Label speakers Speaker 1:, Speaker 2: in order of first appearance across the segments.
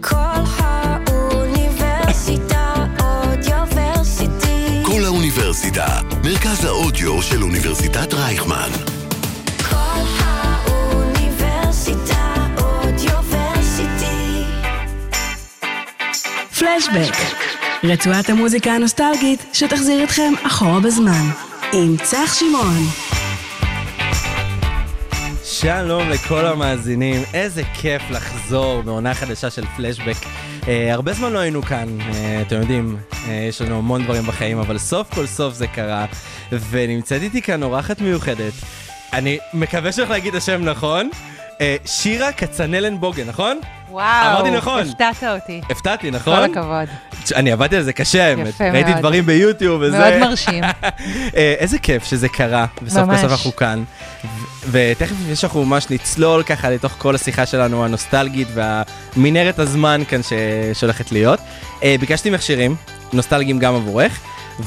Speaker 1: כל האוניברסיטה אודיוורסיטי.
Speaker 2: כל האוניברסיטה, מרכז האודיו של אוניברסיטת רייכמן.
Speaker 1: כל האוניברסיטה אודיוורסיטי.
Speaker 3: פלשבק, רצועת המוזיקה הנוסטלגית שתחזיר אתכם אחורה בזמן, עם צח שמעון.
Speaker 4: שלום לכל המאזינים, איזה כיף לחזור בעונה חדשה של פלשבק. אה, הרבה זמן לא היינו כאן, אה, אתם יודעים, אה, יש לנו המון דברים בחיים, אבל סוף כל סוף זה קרה, ונמצאת איתי כאן אורחת מיוחדת. אני מקווה שאני הולך להגיד השם נכון. אה, שירה כצנלן בוגן, נכון?
Speaker 5: וואו,
Speaker 4: אמרתי נכון.
Speaker 5: הפתעת אותי.
Speaker 4: הפתעת לי, נכון?
Speaker 5: כל הכבוד.
Speaker 4: תש- אני עבדתי על זה קשה, האמת.
Speaker 5: יפה
Speaker 4: ראיתי
Speaker 5: מאוד.
Speaker 4: דברים ביוטיוב וזה.
Speaker 5: מאוד מרשים.
Speaker 4: אה, איזה כיף שזה קרה, וסוף כל
Speaker 5: ממש.
Speaker 4: סוף אנחנו כאן. ו- ותכף לפני שאנחנו ממש נצלול ככה לתוך כל השיחה שלנו הנוסטלגית והמנהרת הזמן כאן ש- שהולכת להיות, אה, ביקשתי ממך שירים, נוסטלגיים גם עבורך,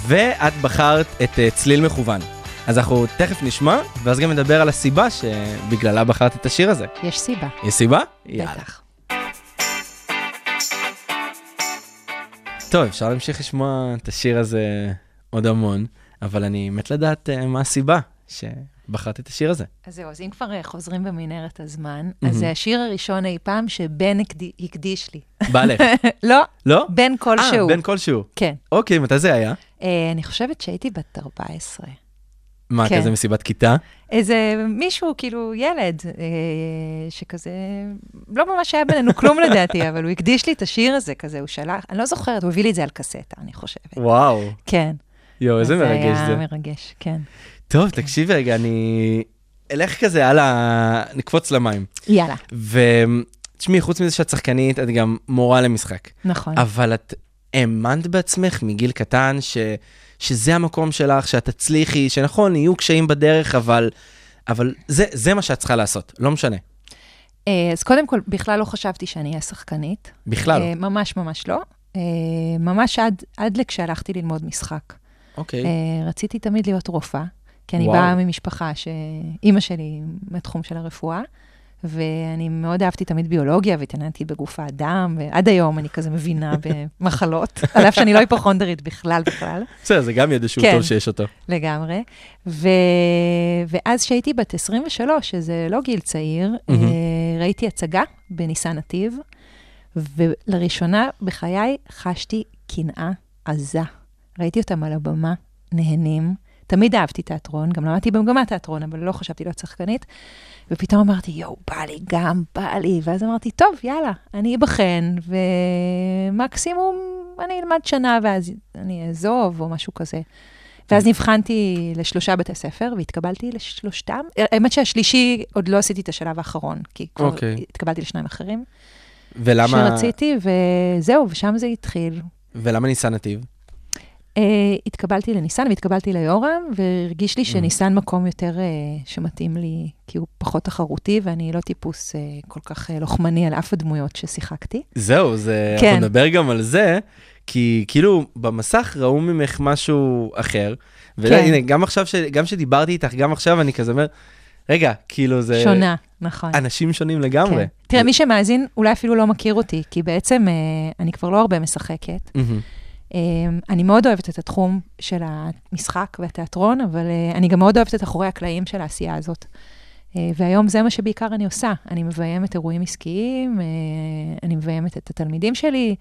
Speaker 4: ואת בחרת את אה, צליל מכוון. אז אנחנו תכף נשמע, ואז גם נדבר על הסיבה שבגללה בחרת את השיר הזה.
Speaker 5: יש סיבה.
Speaker 4: יש סיבה? יאללה.
Speaker 5: בטח.
Speaker 4: טוב, אפשר להמשיך לשמוע את השיר הזה עוד המון, אבל אני מת לדעת אה, מה הסיבה שבחרת את השיר הזה.
Speaker 5: אז זהו, אז אם כבר אה, חוזרים במנהרת הזמן, אז זה השיר הראשון אי פעם שבן הקד- הקדיש לי.
Speaker 4: בעלך.
Speaker 5: לא,
Speaker 4: לא?
Speaker 5: בן
Speaker 4: אה,
Speaker 5: כלשהו.
Speaker 4: בן כלשהו.
Speaker 5: כן.
Speaker 4: אוקיי, מתי זה היה?
Speaker 5: אה, אני חושבת שהייתי בת 14.
Speaker 4: מה,
Speaker 5: כן.
Speaker 4: כזה מסיבת כיתה?
Speaker 5: איזה מישהו, כאילו, ילד, אה, שכזה, לא ממש היה בינינו כלום לדעתי, אבל הוא הקדיש לי את השיר הזה, כזה, הוא שלח, אני לא זוכרת, הוא הביא לי את זה על קסטה, אני חושבת.
Speaker 4: וואו.
Speaker 5: כן.
Speaker 4: יואו, איזה
Speaker 5: אז
Speaker 4: מרגש
Speaker 5: זה
Speaker 4: זה.
Speaker 5: היה מרגש, כן.
Speaker 4: טוב, תקשיב רגע, אני אלך כזה על ה... נקפוץ למים.
Speaker 5: יאללה.
Speaker 4: ותשמעי, חוץ מזה שאת שחקנית, את גם מורה למשחק.
Speaker 5: נכון.
Speaker 4: אבל את האמנת בעצמך מגיל קטן ש... שזה המקום שלך, שאת תצליחי, שנכון, יהיו קשיים בדרך, אבל... אבל זה, זה מה שאת צריכה לעשות, לא משנה.
Speaker 5: אה, אז קודם כל, בכלל לא חשבתי שאני אהיה שחקנית.
Speaker 4: בכלל.
Speaker 5: אה, ממש ממש לא. אה, ממש עד, עד לכשהלכתי ללמוד משחק.
Speaker 4: אוקיי.
Speaker 5: אה, רציתי תמיד להיות רופאה, כי אני
Speaker 4: וואו.
Speaker 5: באה ממשפחה שאימא שלי מהתחום של הרפואה, ואני מאוד אהבתי תמיד ביולוגיה, והתעניינתי בגוף האדם, ועד היום אני כזה מבינה במחלות, על אף שאני לא היפוכונדרית בכלל בכלל.
Speaker 4: בסדר, זה גם ידע שהוא
Speaker 5: כן.
Speaker 4: טוב שיש אותו.
Speaker 5: לגמרי. ו... ואז כשהייתי בת 23, שזה לא גיל צעיר, mm-hmm.
Speaker 4: מהמם.
Speaker 5: ראיתי הצגה בניסן נתיב, ולראשונה בחיי חשתי קנאה עזה. ראיתי אותם על הבמה, נהנים. תמיד אהבתי תיאטרון, גם למדתי במגמת תיאטרון, אבל לא חשבתי להיות שחקנית. ופתאום אמרתי, יואו, בא לי, גם בא לי. ואז אמרתי, טוב, יאללה, אני אבחן, ומקסימום אני אלמד שנה ואז אני אעזוב, או משהו כזה. ואז נבחנתי לשלושה בתי ספר, והתקבלתי לשלושתם. האמת שהשלישי, עוד לא עשיתי את השלב האחרון, כי כבר
Speaker 4: אוקיי.
Speaker 5: התקבלתי לשניים אחרים.
Speaker 4: ולמה...
Speaker 5: שרציתי, וזהו, ושם זה התחיל.
Speaker 4: ולמה ניסה נתיב?
Speaker 5: Uh, התקבלתי לניסן והתקבלתי ליורם, והרגיש
Speaker 4: Mm.
Speaker 5: לי שניסן מקום יותר uh, שמתאים לי, כי הוא פחות תחרותי, ואני לא טיפוס uh, כל כך uh, לוחמני על אף הדמויות ששיחקתי.
Speaker 4: זהו, זה...
Speaker 5: כן.
Speaker 4: אנחנו נדבר גם על זה, כי כאילו במסך ראו ממך משהו אחר.
Speaker 5: כן.
Speaker 4: והנה, גם עכשיו, ש... גם שדיברתי איתך, גם עכשיו אני כזה אומר, רגע, כאילו זה...
Speaker 5: שונה, נכון.
Speaker 4: אנשים שונים לגמרי.
Speaker 5: כן. תראה, מי שמאזין אולי אפילו לא מכיר אותי, כי בעצם uh, אני כבר לא הרבה משחקת.
Speaker 4: מהמם.
Speaker 5: Um, אני מאוד אוהבת את התחום של המשחק והתיאטרון, אבל uh, אני גם מאוד אוהבת את אחורי הקלעים של העשייה הזאת. Uh, והיום זה מה שבעיקר אני עושה. אני מביימת אירועים עסקיים, uh, אני מביימת את התלמידים שלי,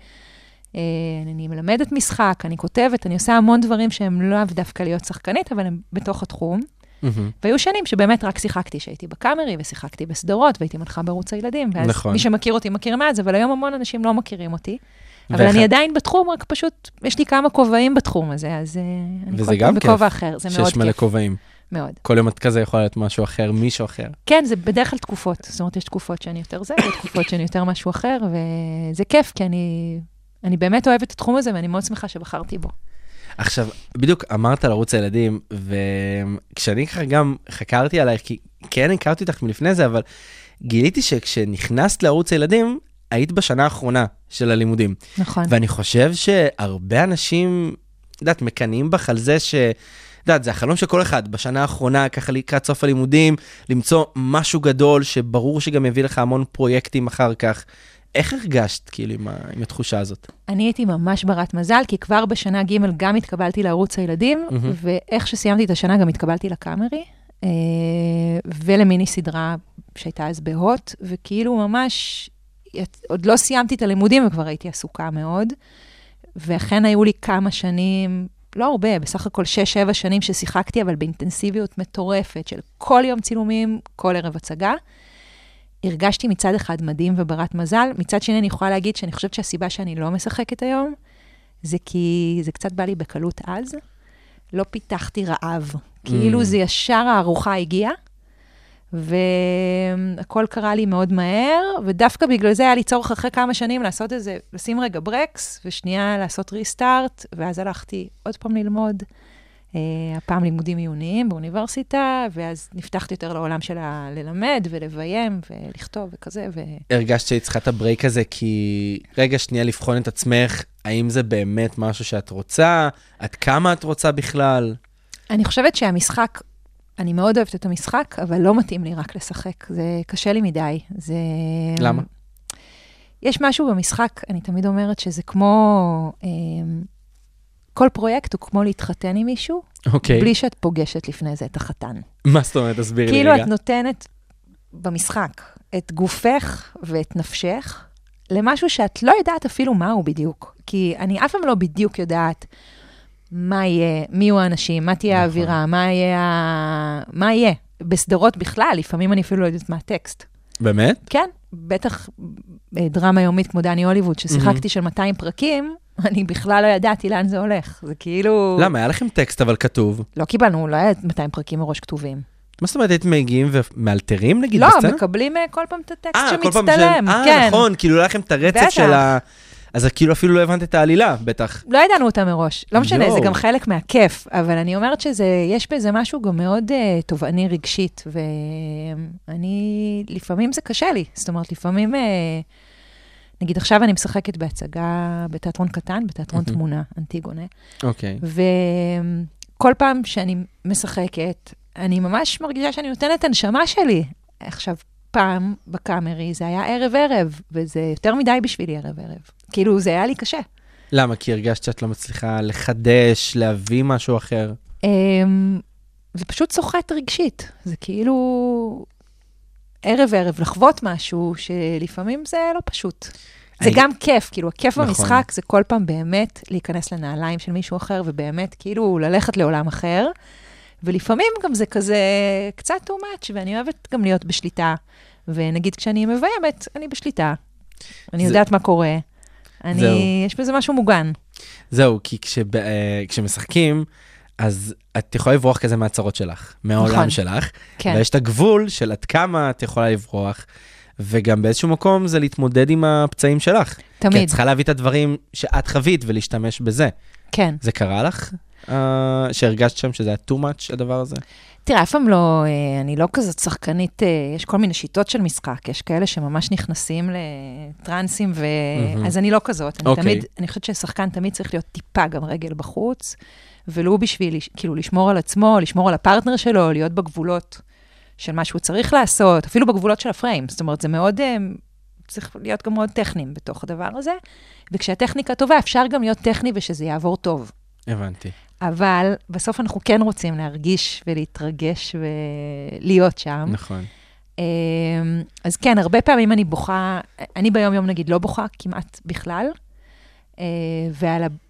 Speaker 5: uh, אני מלמדת משחק, אני כותבת, אני עושה המון דברים שהם לאו דווקא להיות שחקנית, אבל הם בתוך התחום.
Speaker 4: מהמם.
Speaker 5: והיו שנים שבאמת רק שיחקתי, שהייתי בקאמרי ושיחקתי בסדרות והייתי מנחה בערוץ הילדים, ואז
Speaker 4: נכון.
Speaker 5: נכון. מי שמכיר אותי מכיר מאז, אבל היום המון אנשים לא מכירים אותי. אבל
Speaker 4: ואחד-
Speaker 5: אני עדיין בתחום, רק פשוט, יש לי כמה כובעים בתחום הזה, אז אה, אני
Speaker 4: וזה
Speaker 5: כל
Speaker 4: גם
Speaker 5: פעם בכובע
Speaker 4: כיף,
Speaker 5: אחר, זה מאוד
Speaker 4: שיש מלא
Speaker 5: כיף,
Speaker 4: כובעים.
Speaker 5: מאוד.
Speaker 4: כל יום את כזה יכולה להיות משהו אחר, מישהו אחר.
Speaker 5: כן, זה בדרך כלל תקופות, זאת אומרת, יש תקופות שאני יותר זה, ותקופות שאני יותר משהו אחר, וזה כיף, כי אני, אני באמת אוהבת את התחום הזה, ואני מאוד שמחה שבחרתי בו.
Speaker 4: עכשיו, בדיוק אמרת על ערוץ הילדים, וכשאני ככה גם חקרתי עלייך, כי כן הכרתי אותך מלפני זה, אבל גיליתי שכשנכנסת לערוץ הילדים, היית בשנה האחרונה של הלימודים.
Speaker 5: נכון.
Speaker 4: ואני חושב שהרבה אנשים, את יודעת, מקנאים בך על זה ש... את יודעת, זה החלום של כל אחד בשנה האחרונה, ככה לקראת סוף הלימודים, למצוא משהו גדול שברור שגם יביא לך המון פרויקטים אחר כך. איך הרגשת, כאילו, עם, ה... עם התחושה הזאת?
Speaker 5: אני הייתי ממש ברת מזל, כי כבר בשנה ג' גם התקבלתי לערוץ הילדים,
Speaker 4: מהמם.
Speaker 5: ואיך שסיימתי את השנה גם התקבלתי לקאמרי, אה, ולמיני סדרה שהייתה אז בהוט, וכאילו ממש, יצ- עוד לא סיימתי את הלימודים וכבר הייתי עסוקה מאוד, ואכן היו לי כמה שנים, לא הרבה, בסך הכל 6-7 שנים ששיחקתי, אבל באינטנסיביות מטורפת של כל יום צילומים, כל ערב הצגה. הרגשתי מצד אחד מדהים וברת מזל, מצד שני אני יכולה להגיד שאני חושבת שהסיבה שאני לא משחקת היום, זה כי זה קצת בא לי בקלות אז. לא פיתחתי רעב. כאילו זה ישר הארוחה הגיעה, והכל קרה לי מאוד מהר, ודווקא בגלל זה היה לי צורך אחרי כמה שנים לעשות איזה, לשים רגע ברקס, ושנייה לעשות ריסטארט, ואז הלכתי עוד פעם ללמוד. אה, הפעם לימודים עיוניים באוניברסיטה, ואז נפתחת יותר לעולם של ה- ללמד ולביים ולכתוב וכזה, ו...
Speaker 4: הרגשת שהיית צריכה את הברייק הזה, כי רגע שנייה לבחון את עצמך, האם זה באמת משהו שאת רוצה, עד כמה את רוצה בכלל.
Speaker 5: אני חושבת שהמשחק, אני מאוד אוהבת את המשחק, אבל לא מתאים לי רק לשחק. זה קשה לי מדי. זה...
Speaker 4: למה?
Speaker 5: יש משהו במשחק, אני תמיד אומרת שזה כמו... אמ, כל פרויקט הוא כמו להתחתן עם מישהו,
Speaker 4: אוקיי.
Speaker 5: בלי שאת פוגשת לפני זה את החתן.
Speaker 4: מה זאת אומרת? תסבירי לי
Speaker 5: כאילו
Speaker 4: רגע.
Speaker 5: את נותנת במשחק את גופך ואת נפשך למשהו שאת לא יודעת אפילו מהו בדיוק. כי אני אף פעם לא בדיוק יודעת מה יהיה, מי יהיו האנשים, מה
Speaker 4: נכון.
Speaker 5: תהיה האווירה, מה יהיה... ה- מה יהיה. בסדרות בכלל, לפעמים אני אפילו לא יודעת מה הטקסט.
Speaker 4: באמת?
Speaker 5: כן, בטח אה, דרמה יומית כמו דני הוליווד, ששיחקתי של 200 פרקים, אני בכלל לא ידעתי לאן זה הולך. זה כאילו...
Speaker 4: למה? היה לכם טקסט אבל כתוב.
Speaker 5: לא קיבלנו, לא היה 200 פרקים מראש כתובים.
Speaker 4: מה זאת אומרת, הייתם מגיעים ומאלתרים נגיד
Speaker 5: לא,
Speaker 4: בסצנה?
Speaker 5: מקבלים אה, כל פעם את הטקסט
Speaker 4: אה, כל פעם
Speaker 5: שמצטלם,
Speaker 4: של-
Speaker 5: כן.
Speaker 4: אה, נכון, כאילו היה לכם את הרצף
Speaker 5: בטח.
Speaker 4: של ה... אז כאילו אפילו לא הבנת את העלילה, בטח.
Speaker 5: לא ידענו אותה מראש, לא משנה,
Speaker 4: יואו.
Speaker 5: זה גם חלק מהכיף, אבל אני אומרת שזה, יש בזה משהו גם מאוד uh, תובעני רגשית, ואני, לפעמים זה קשה לי, זאת אומרת, לפעמים, uh, נגיד עכשיו אני משחקת בהצגה בתיאטרון קטן, בתיאטרון
Speaker 4: מהמם.
Speaker 5: תמונה, אנטיגונה,
Speaker 4: אוקיי.
Speaker 5: וכל פעם שאני משחקת, אני ממש מרגישה שאני נותנת הנשמה שלי. עכשיו, פעם בקאמרי זה היה ערב-ערב, וזה יותר מדי בשבילי ערב-ערב. כאילו, זה היה לי קשה.
Speaker 4: למה? כי הרגשת שאת לא מצליחה לחדש, להביא משהו אחר.
Speaker 5: אמ, זה פשוט סוחט רגשית. זה כאילו ערב-ערב לחוות משהו שלפעמים זה לא פשוט. זה
Speaker 4: אני-
Speaker 5: גם כיף, כאילו, הכיף
Speaker 4: נכון.
Speaker 5: במשחק זה כל פעם באמת להיכנס לנעליים של מישהו אחר, ובאמת כאילו ללכת לעולם אחר. ולפעמים גם זה כזה קצת too much, ואני אוהבת גם להיות בשליטה. ונגיד כשאני מביימת, אני בשליטה. אני
Speaker 4: זה-
Speaker 5: יודעת מה קורה. אני,
Speaker 4: זהו.
Speaker 5: יש בזה משהו מוגן.
Speaker 4: זהו, כי כשב, אה, כשמשחקים, אז את יכולה לברוח כזה מהצרות שלך, מהעולם
Speaker 5: נכון.
Speaker 4: שלך,
Speaker 5: כן.
Speaker 4: ויש את הגבול של עד כמה את יכולה לברוח, וגם באיזשהו מקום זה להתמודד עם הפצעים שלך. כי את
Speaker 5: תמיד,
Speaker 4: צריכה להביא את הדברים שאת חווית ולהשתמש בזה.
Speaker 5: כן.
Speaker 4: זה קרה לך? Uh, שהרגשת שם שזה היה too much הדבר הזה?
Speaker 5: תראה, אף פעם לא, אה, אני לא כזאת שחקנית, אה, יש כל מיני שיטות של משחק, יש כאלה שממש נכנסים לטרנסים, ו...
Speaker 4: מהמם.
Speaker 5: mm-hmm. אז אני לא כזאת. אני
Speaker 4: אוקיי.
Speaker 5: תמיד, אני חושבת ששחקן תמיד צריך להיות טיפה גם רגל בחוץ, ולו בשביל, לש- כאילו, לשמור על עצמו, לשמור על הפרטנר שלו, להיות בגבולות של מה שהוא צריך לעשות, אפילו בגבולות של הפריים. זאת אומרת, זה מאוד, אה, צריך להיות גם מאוד טכניים בתוך הדבר הזה, וכשהטכניקה טובה, אפשר גם להיות טכני ושזה יעבור טוב.
Speaker 4: הבנתי.
Speaker 5: אבל בסוף אנחנו כן רוצים להרגיש ולהתרגש ולהיות שם.
Speaker 4: נכון.
Speaker 5: אמ, אז כן, הרבה פעמים אני בוכה, אני ביום-יום נגיד לא בוכה כמעט בכלל, אה,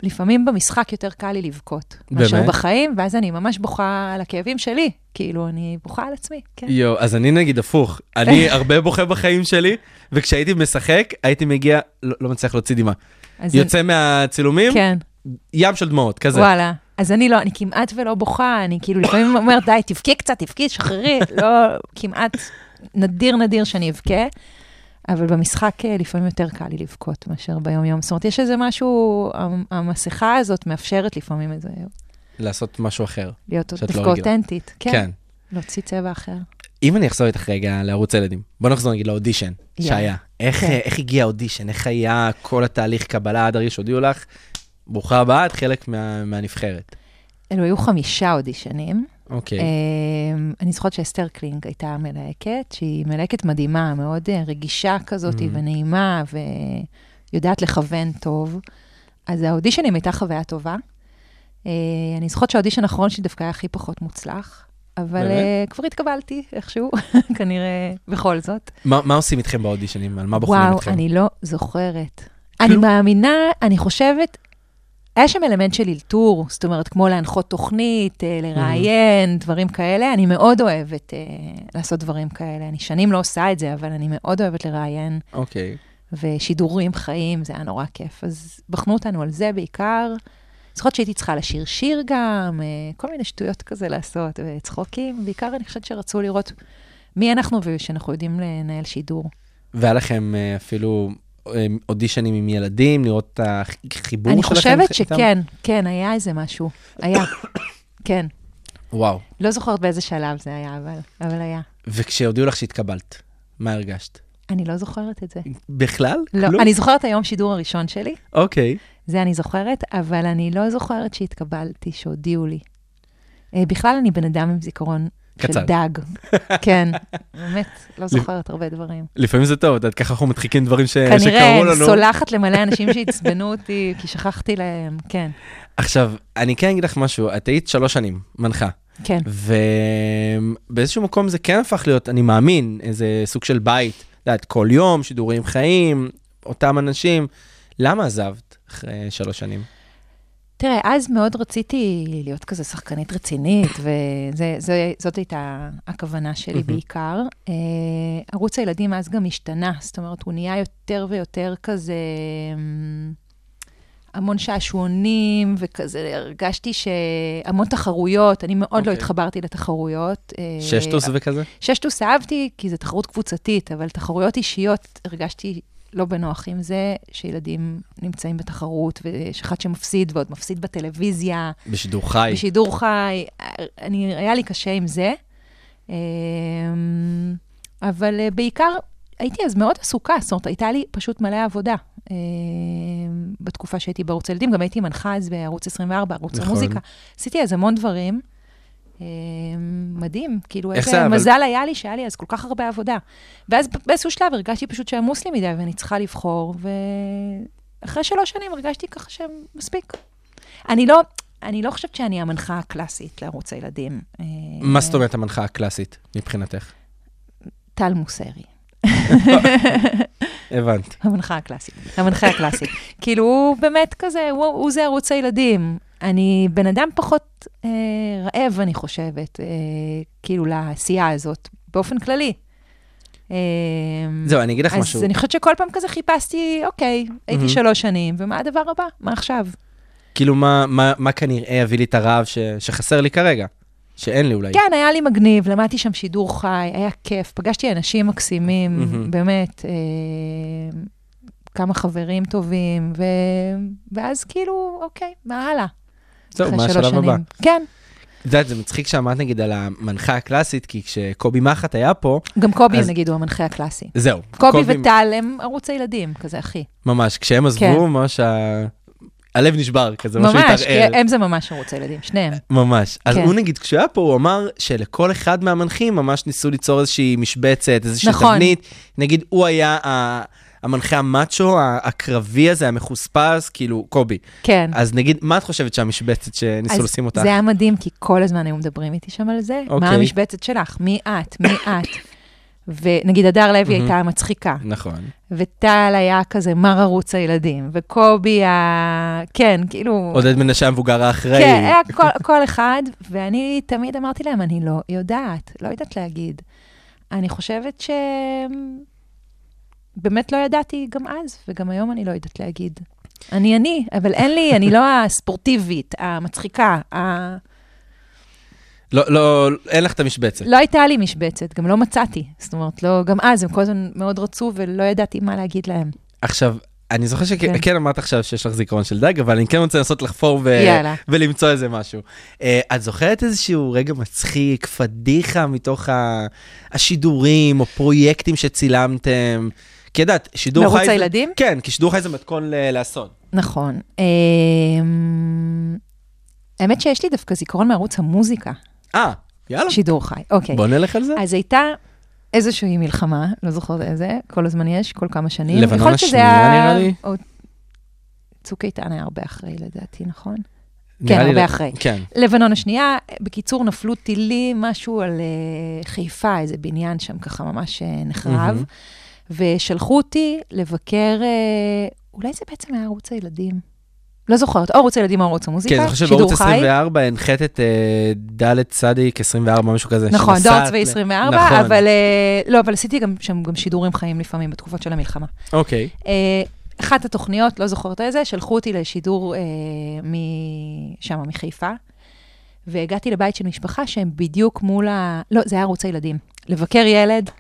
Speaker 5: ולפעמים במשחק יותר קל לי לבכות. מאשר
Speaker 4: באמת?
Speaker 5: בחיים, ואז אני ממש בוכה על הכאבים שלי, כאילו, אני בוכה על עצמי, כן.
Speaker 4: יואו, אז אני נגיד הפוך. אני הרבה בוכה בחיים שלי, וכשהייתי משחק, הייתי מגיע, לא, לא מצליח להוציא דמעה.
Speaker 5: אז אני-
Speaker 4: יוצא מהצילומים,
Speaker 5: כן,
Speaker 4: ים של דמעות, כזה.
Speaker 5: וואלה. אז אני לא, אני כמעט ולא בוכה, אני כאילו לפעמים אומרת, די, תבכי קצת, תבכי, שחררי, לא, כמעט, נדיר נדיר שאני אבכה, אבל במשחק אה, לפעמים יותר קל לי לבכות מאשר ביום-יום. זאת אומרת, יש איזה משהו, המ- המסכה הזאת מאפשרת לפעמים איזה,
Speaker 4: לעשות משהו אחר.
Speaker 5: להיות
Speaker 4: שאת לא
Speaker 5: דווקא
Speaker 4: רגילה.
Speaker 5: אותנטית. כן.
Speaker 4: כן.
Speaker 5: להוציא צבע אחר.
Speaker 4: אם אני אחזור איתך רגע לערוץ הילדים, בוא נחזור נגיד לאודישן
Speaker 5: יאללה.
Speaker 4: שהיה. איך,
Speaker 5: כן.
Speaker 4: איך הגיע האודישן? איך היה כל התהליך קבלה עד הרגע שהודיעו לך? ברוכה הבאה, את חלק מה, מהנבחרת.
Speaker 5: אלו היו חמישה אודישנים.
Speaker 4: אוקיי.
Speaker 5: אמ, אני זוכרת שאסתר קלינג הייתה המלהקת, שהיא מלהקת מדהימה, מאוד אה, רגישה כזאת
Speaker 4: Mm.
Speaker 5: ונעימה, ויודעת לכוון טוב. אז האודישנים הייתה חוויה טובה. אה, אני זוכרת שהאודישן האחרון שלי דווקא היה הכי פחות מוצלח, אבל
Speaker 4: באמת?
Speaker 5: אה, כבר התקבלתי איכשהו, כנראה בכל זאת.
Speaker 4: מה מה עושים איתכם באודישנים? על מה בוחרים
Speaker 5: וואו,
Speaker 4: אתכם?
Speaker 5: אני לא זוכרת. אני מאמינה, אני חושבת, היה שם אלמנט של אלתור, זאת אומרת, כמו להנחות תוכנית, אה, לראיין, דברים כאלה. אני מאוד אוהבת אה, לעשות דברים כאלה. אני שנים לא עושה את זה, אבל אני מאוד אוהבת לראיין,
Speaker 4: אוקיי.
Speaker 5: ושידורים חיים, זה היה נורא כיף. אז בחנו אותנו על זה בעיקר. זוכרת שהייתי צריכה לשיר שיר גם, אה, כל מיני שטויות כזה לעשות, וצחוקים. בעיקר אני חושבת שרצו לראות מי אנחנו ושאנחנו יודעים לנהל שידור.
Speaker 4: והיה לכם אה, אפילו אה, אודישנים עם ילדים, לראות את החיבור
Speaker 5: אני
Speaker 4: שלכם
Speaker 5: חושבת
Speaker 4: איתם?
Speaker 5: שכן, כן, היה איזה משהו. היה, כן.
Speaker 4: וואו.
Speaker 5: לא זוכרת באיזה שלב זה היה, אבל, אבל היה.
Speaker 4: וכשהודיעו לך שהתקבלת, מה הרגשת?
Speaker 5: אני לא זוכרת את זה.
Speaker 4: בכלל?
Speaker 5: לא,
Speaker 4: כלום?
Speaker 5: אני זוכרת היום שידור הראשון שלי,
Speaker 4: אוקיי.
Speaker 5: זה אני זוכרת, אבל אני לא זוכרת שהתקבלתי, שהודיעו לי. אה, בכלל, אני בן אדם עם זיכרון
Speaker 4: קצר.
Speaker 5: של דג. כן, באמת, לא זוכרת הרבה דברים.
Speaker 4: לפעמים זה טוב, את יודעת, ככה אנחנו מדחיקים דברים ש...
Speaker 5: כנראה
Speaker 4: שקרו לנו.
Speaker 5: סולחת למלא אנשים שעצבנו אותי, כי שכחתי להם, כן,
Speaker 4: עכשיו, אני כן אגיד לך משהו, את היית שלוש שנים מנחה,
Speaker 5: כן.
Speaker 4: ובאיזשהו מקום זה כן הפך להיות, אני מאמין, איזה סוג של בית. את יודעת, כל יום, שידורים חיים, אותם אנשים. למה עזבת אחרי שלוש שנים?
Speaker 5: אה, תראה, אז מאוד רציתי להיות כזה שחקנית רצינית, וזאת הייתה הכוונה שלי
Speaker 4: מהמם.
Speaker 5: בעיקר. אה, ערוץ הילדים אז גם השתנה, זאת אומרת, הוא נהיה יותר ויותר כזה אמ, המון שעשועונים, וכזה הרגשתי שהמון תחרויות, אני מאוד לא
Speaker 4: אוקיי.
Speaker 5: התחברתי לתחרויות. אה,
Speaker 4: ששטוס וכזה?
Speaker 5: ששטוס אהבתי, כי זו תחרות קבוצתית, אבל תחרויות אישיות, הרגשתי לא בנוח עם זה שילדים נמצאים בתחרות, ויש אחד שמפסיד ועוד מפסיד בטלוויזיה,
Speaker 4: בשידור חי.
Speaker 5: בשידור חי. אני, היה לי קשה עם זה. אמ, אבל אה, בעיקר, הייתי אז מאוד עסוקה, זאת אומרת, הייתה לי פשוט מלא עבודה. אמ, בתקופה שהייתי בערוץ הילדים, גם הייתי מנחה אז בערוץ 24, ערוץ
Speaker 4: נכון.
Speaker 5: המוזיקה. עשיתי אז המון דברים. אמ, מדהים, כאילו
Speaker 4: איך זה,
Speaker 5: איזה
Speaker 4: אבל-
Speaker 5: מזל היה לי שהיה לי אז כל כך הרבה עבודה. ואז באיזשהו שלב הרגשתי פשוט שעמוס לי מדי ואני צריכה לבחור, ואחרי שלוש שנים הרגשתי ככה שמספיק. אני לא, אני לא חושבת שאני המנחה הקלאסית לערוץ הילדים. אה,
Speaker 4: מה זאת אומרת המנחה הקלאסית מבחינתך?
Speaker 5: טל מוסרי,
Speaker 4: הבנת.
Speaker 5: המנחה הקלאסית, המנחה הקלאסית. כאילו, הוא באמת כזה, הוא, הוא זה ערוץ הילדים. אני בן אדם פחות אה, רעב, אני חושבת, אה, כאילו, לעשייה הזאת, באופן כללי. אה,
Speaker 4: זהו, אני אגיד לך
Speaker 5: אז
Speaker 4: משהו.
Speaker 5: אני חושבת שכל פעם כזה חיפשתי, אוקיי, הייתי
Speaker 4: Mhm.
Speaker 5: שלוש שנים, ומה הדבר הבא? מה עכשיו?
Speaker 4: כאילו, מה, מה, מה כנראה יביא לי את הרעב ש, שחסר לי כרגע? שאין לי אולי.
Speaker 5: כן, היה לי מגניב, למדתי שם שידור חי, היה כיף, פגשתי אנשים מקסימים,
Speaker 4: מהמם.
Speaker 5: באמת, אה, כמה חברים טובים, ו... ואז כאילו, אוקיי, מה הלאה?
Speaker 4: זהו,
Speaker 5: אחרי
Speaker 4: מה
Speaker 5: שלוש
Speaker 4: השלב הבא?
Speaker 5: שנים. כן,
Speaker 4: את יודעת, זה מצחיק שאמרת נגיד על המנחה הקלאסית, כי כשקובי מחט היה פה,
Speaker 5: גם קובי,
Speaker 4: אז-
Speaker 5: נגיד, הוא המנחה הקלאסי.
Speaker 4: זהו.
Speaker 5: קובי וטל הם ערוץ הילדים, כזה, אחי.
Speaker 4: ממש, כשהם עזבו,
Speaker 5: כן.
Speaker 4: ממש ה... הלב נשבר כזה, משהו
Speaker 5: ממש, כי
Speaker 4: התערער.
Speaker 5: הם זה ממש ערוץ הילדים, שניהם.
Speaker 4: ממש. אז
Speaker 5: כן.
Speaker 4: הוא נגיד, כשהוא היה פה, הוא אמר שלכל אחד מהמנחים ממש ניסו ליצור איזושהי משבצת, איזושהי
Speaker 5: נכון.
Speaker 4: תבנית. נגיד, הוא היה ה- המנחה המאצ'ו, ה- הקרבי הזה, המחוספס, כאילו, קובי.
Speaker 5: כן.
Speaker 4: אז נגיד, מה את חושבת שהמשבצת שניסו לשים אותך?
Speaker 5: זה היה מדהים, כי כל הזמן היו מדברים איתי שם על זה.
Speaker 4: אוקיי.
Speaker 5: מה המשבצת שלך? מי את? מי את? ונגיד, הדר לוי הייתה המצחיקה.
Speaker 4: נכון.
Speaker 5: וטל היה כזה מר ערוץ הילדים, וקובי ה... כן, כאילו...
Speaker 4: עודד מנשה המבוגר האחראי.
Speaker 5: כן, היה כל, כל אחד, ואני תמיד אמרתי להם, אני לא יודעת, לא יודעת להגיד. אני חושבת ש... באמת לא ידעתי גם אז, וגם היום אני לא יודעת להגיד. אני אני, אבל אין לי, אני לא הספורטיבית, המצחיקה, ה...
Speaker 4: לא, לא, אין לך את המשבצת.
Speaker 5: לא הייתה לי משבצת, גם לא מצאתי. זאת אומרת, לא, גם אז הם כל הזמן מאוד רצו, ולא ידעתי מה להגיד להם.
Speaker 4: עכשיו, אני זוכר
Speaker 5: כן.
Speaker 4: שכן אמרת עכשיו שיש לך זיכרון של דג, אבל אני כן רוצה לנסות לחפור ו...
Speaker 5: יאללה.
Speaker 4: ולמצוא איזה משהו. אה, את זוכרת איזשהו רגע מצחיק, פדיחה מתוך ה... השידורים או פרויקטים שצילמתם? כי את יודעת, שידור חי...
Speaker 5: בערוץ
Speaker 4: זה-
Speaker 5: הילדים?
Speaker 4: כן, כי שידור חי זה מתכון ל- לאסון.
Speaker 5: נכון. אמ, האמת שיש לי דווקא זיכרון מערוץ המוזיקה,
Speaker 4: אה, יאללה,
Speaker 5: שידור חי. אוקיי.
Speaker 4: בוא נלך על זה.
Speaker 5: אז הייתה איזושהי מלחמה, לא זוכרת איזה, כל הזמן יש, כל כמה שנים.
Speaker 4: לבנון
Speaker 5: יכול להיות שזה
Speaker 4: השנייה,
Speaker 5: היה-
Speaker 4: נראה לי.
Speaker 5: או... צוק איתן היה הרבה אחרי, לדעתי, נכון?
Speaker 4: נראה לי
Speaker 5: הרבה
Speaker 4: לא-
Speaker 5: אחרי.
Speaker 4: כן.
Speaker 5: לבנון השנייה, בקיצור, נפלו טילים, משהו על אה, חיפה, איזה בניין שם ככה ממש אה, נחרב, ושלחו אותי לבקר, אה, אולי זה בעצם היה ערוץ הילדים. לא זוכרת, או ערוץ הילדים או ערוץ
Speaker 4: כן,
Speaker 5: המוזיקה,
Speaker 4: זוכר שבערוץ
Speaker 5: שידור חי.
Speaker 4: 24 הנחת את אה, ד' צדיק 24, משהו כזה.
Speaker 5: נכון, דור
Speaker 4: שנסעת
Speaker 5: צבאי
Speaker 4: ל-
Speaker 5: 24,
Speaker 4: נכון.
Speaker 5: אבל אה, לא, אבל עשיתי גם שם גם שידורים חיים לפעמים בתקופות של המלחמה.
Speaker 4: אוקיי.
Speaker 5: אה, אחת התוכניות, לא זוכרת איזה, שלחו אותי לשידור אה, משם, מחיפה, והגעתי לבית של משפחה שהם בדיוק מול ה... לא, זה היה ערוץ הילדים. לבקר ילד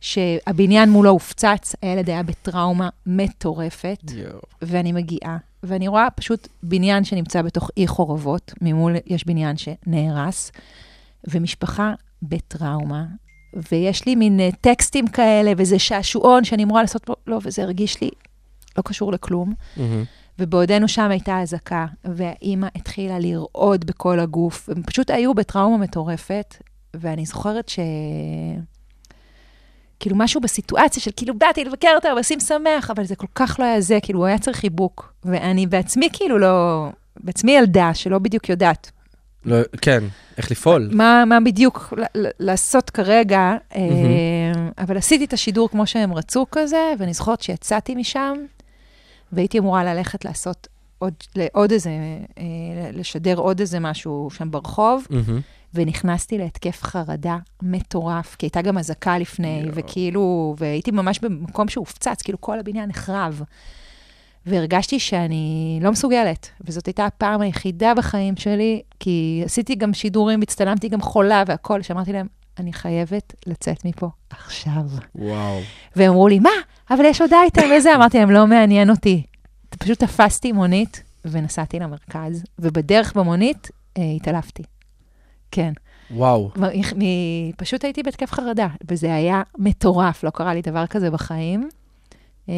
Speaker 5: שהבניין מולו הופצץ, הילד היה בטראומה מטורפת, ואני מגיעה, ואני רואה פשוט בניין שנמצא בתוך אי חורבות, ממול יש בניין שנהרס, ומשפחה בטראומה, ויש לי מין אה, טקסטים כאלה, וזה שעשועון שאני אמורה לעשות פה, לא, וזה הרגיש לי לא קשור לכלום.
Speaker 4: מהמם.
Speaker 5: ובעודנו שם הייתה אזעקה, והאימא התחילה לרעוד בכל הגוף, הם פשוט היו בטראומה מטורפת, ואני זוכרת ש... כאילו משהו בסיטואציה של כאילו באתי לבקר אותה, ועושים שמח, אבל זה כל כך לא היה זה, כאילו הוא היה צריך חיבוק. ואני בעצמי כאילו לא, בעצמי ילדה שלא בדיוק יודעת
Speaker 4: לא, כן, איך לפעול.
Speaker 5: מה, מה בדיוק ל- ל- לעשות כרגע, אה, אבל עשיתי את השידור כמו שהם רצו כזה, ואני זוכרת שיצאתי משם, והייתי אמורה ללכת לעשות עוד, לעוד איזה, אה, לשדר עוד איזה משהו שם ברחוב,
Speaker 4: מהמם.
Speaker 5: ונכנסתי להתקף חרדה מטורף, כי הייתה גם אזעקה לפני, וכאילו, והייתי ממש במקום שהופצץ, כאילו כל הבניין נחרב. והרגשתי שאני לא מסוגלת, וזאת הייתה הפעם היחידה בחיים שלי, כי עשיתי גם שידורים, הצטלמתי גם חולה והכול, שאמרתי להם, אני חייבת לצאת מפה עכשיו.
Speaker 4: וואו.
Speaker 5: והם אמרו לי, מה? אבל יש עוד אייטם וזה, אמרתי להם, לא מעניין אותי. פשוט תפסתי מונית ונסעתי למרכז, ובדרך במונית אה, התעלפתי. כן.
Speaker 4: וואו.
Speaker 5: מ- מ- פשוט הייתי בהתקף חרדה, וזה היה מטורף, לא קרה לי דבר כזה בחיים. אה,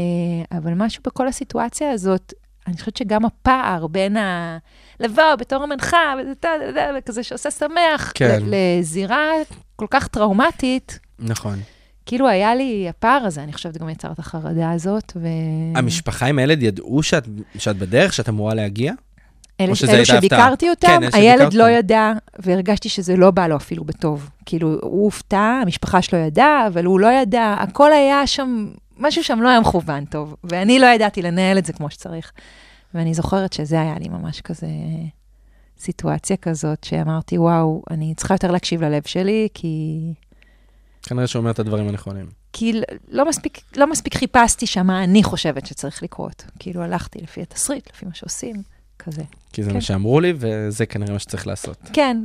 Speaker 5: אבל משהו בכל הסיטואציה הזאת, אני חושבת שגם הפער בין ה... לבוא בתור המנחה, וזה טה, טה, טה, וכזה שעושה שמח,
Speaker 4: כן.
Speaker 5: ל- לזירה כל כך טראומטית,
Speaker 4: נכון.
Speaker 5: כאילו היה לי הפער הזה, אני חושבת גם יצר את החרדה הזאת, ו...
Speaker 4: המשפחה עם הילד ידעו שאת, שאת בדרך, שאת אמורה להגיע?
Speaker 5: אלה,
Speaker 4: או שזה
Speaker 5: אלו
Speaker 4: הייתה הפתעה?
Speaker 5: שביקרתי אותם,
Speaker 4: כן, אלה
Speaker 5: הילד
Speaker 4: שביקרת
Speaker 5: לא
Speaker 4: אותם.
Speaker 5: ידע, והרגשתי שזה לא בא לו אפילו בטוב. כאילו, הוא הופתע, המשפחה שלו ידעה, אבל הוא לא ידע, הכל היה שם, משהו שם לא היה מכוון טוב, ואני לא ידעתי לנהל את זה כמו שצריך. ואני זוכרת שזה היה לי ממש כזה סיטואציה כזאת, שאמרתי, וואו, אני צריכה יותר להקשיב ללב שלי, כי...
Speaker 4: כנראה שאומר את הדברים הנכונים.
Speaker 5: כי ל- לא מספיק, לא מספיק חיפשתי שם מה אני חושבת שצריך לקרות. כאילו, הלכתי לפי התסריט, לפי מה שעושים, כזה.
Speaker 4: כי זה
Speaker 5: כן.
Speaker 4: מה שאמרו לי, וזה כנראה מה שצריך לעשות.
Speaker 5: כן,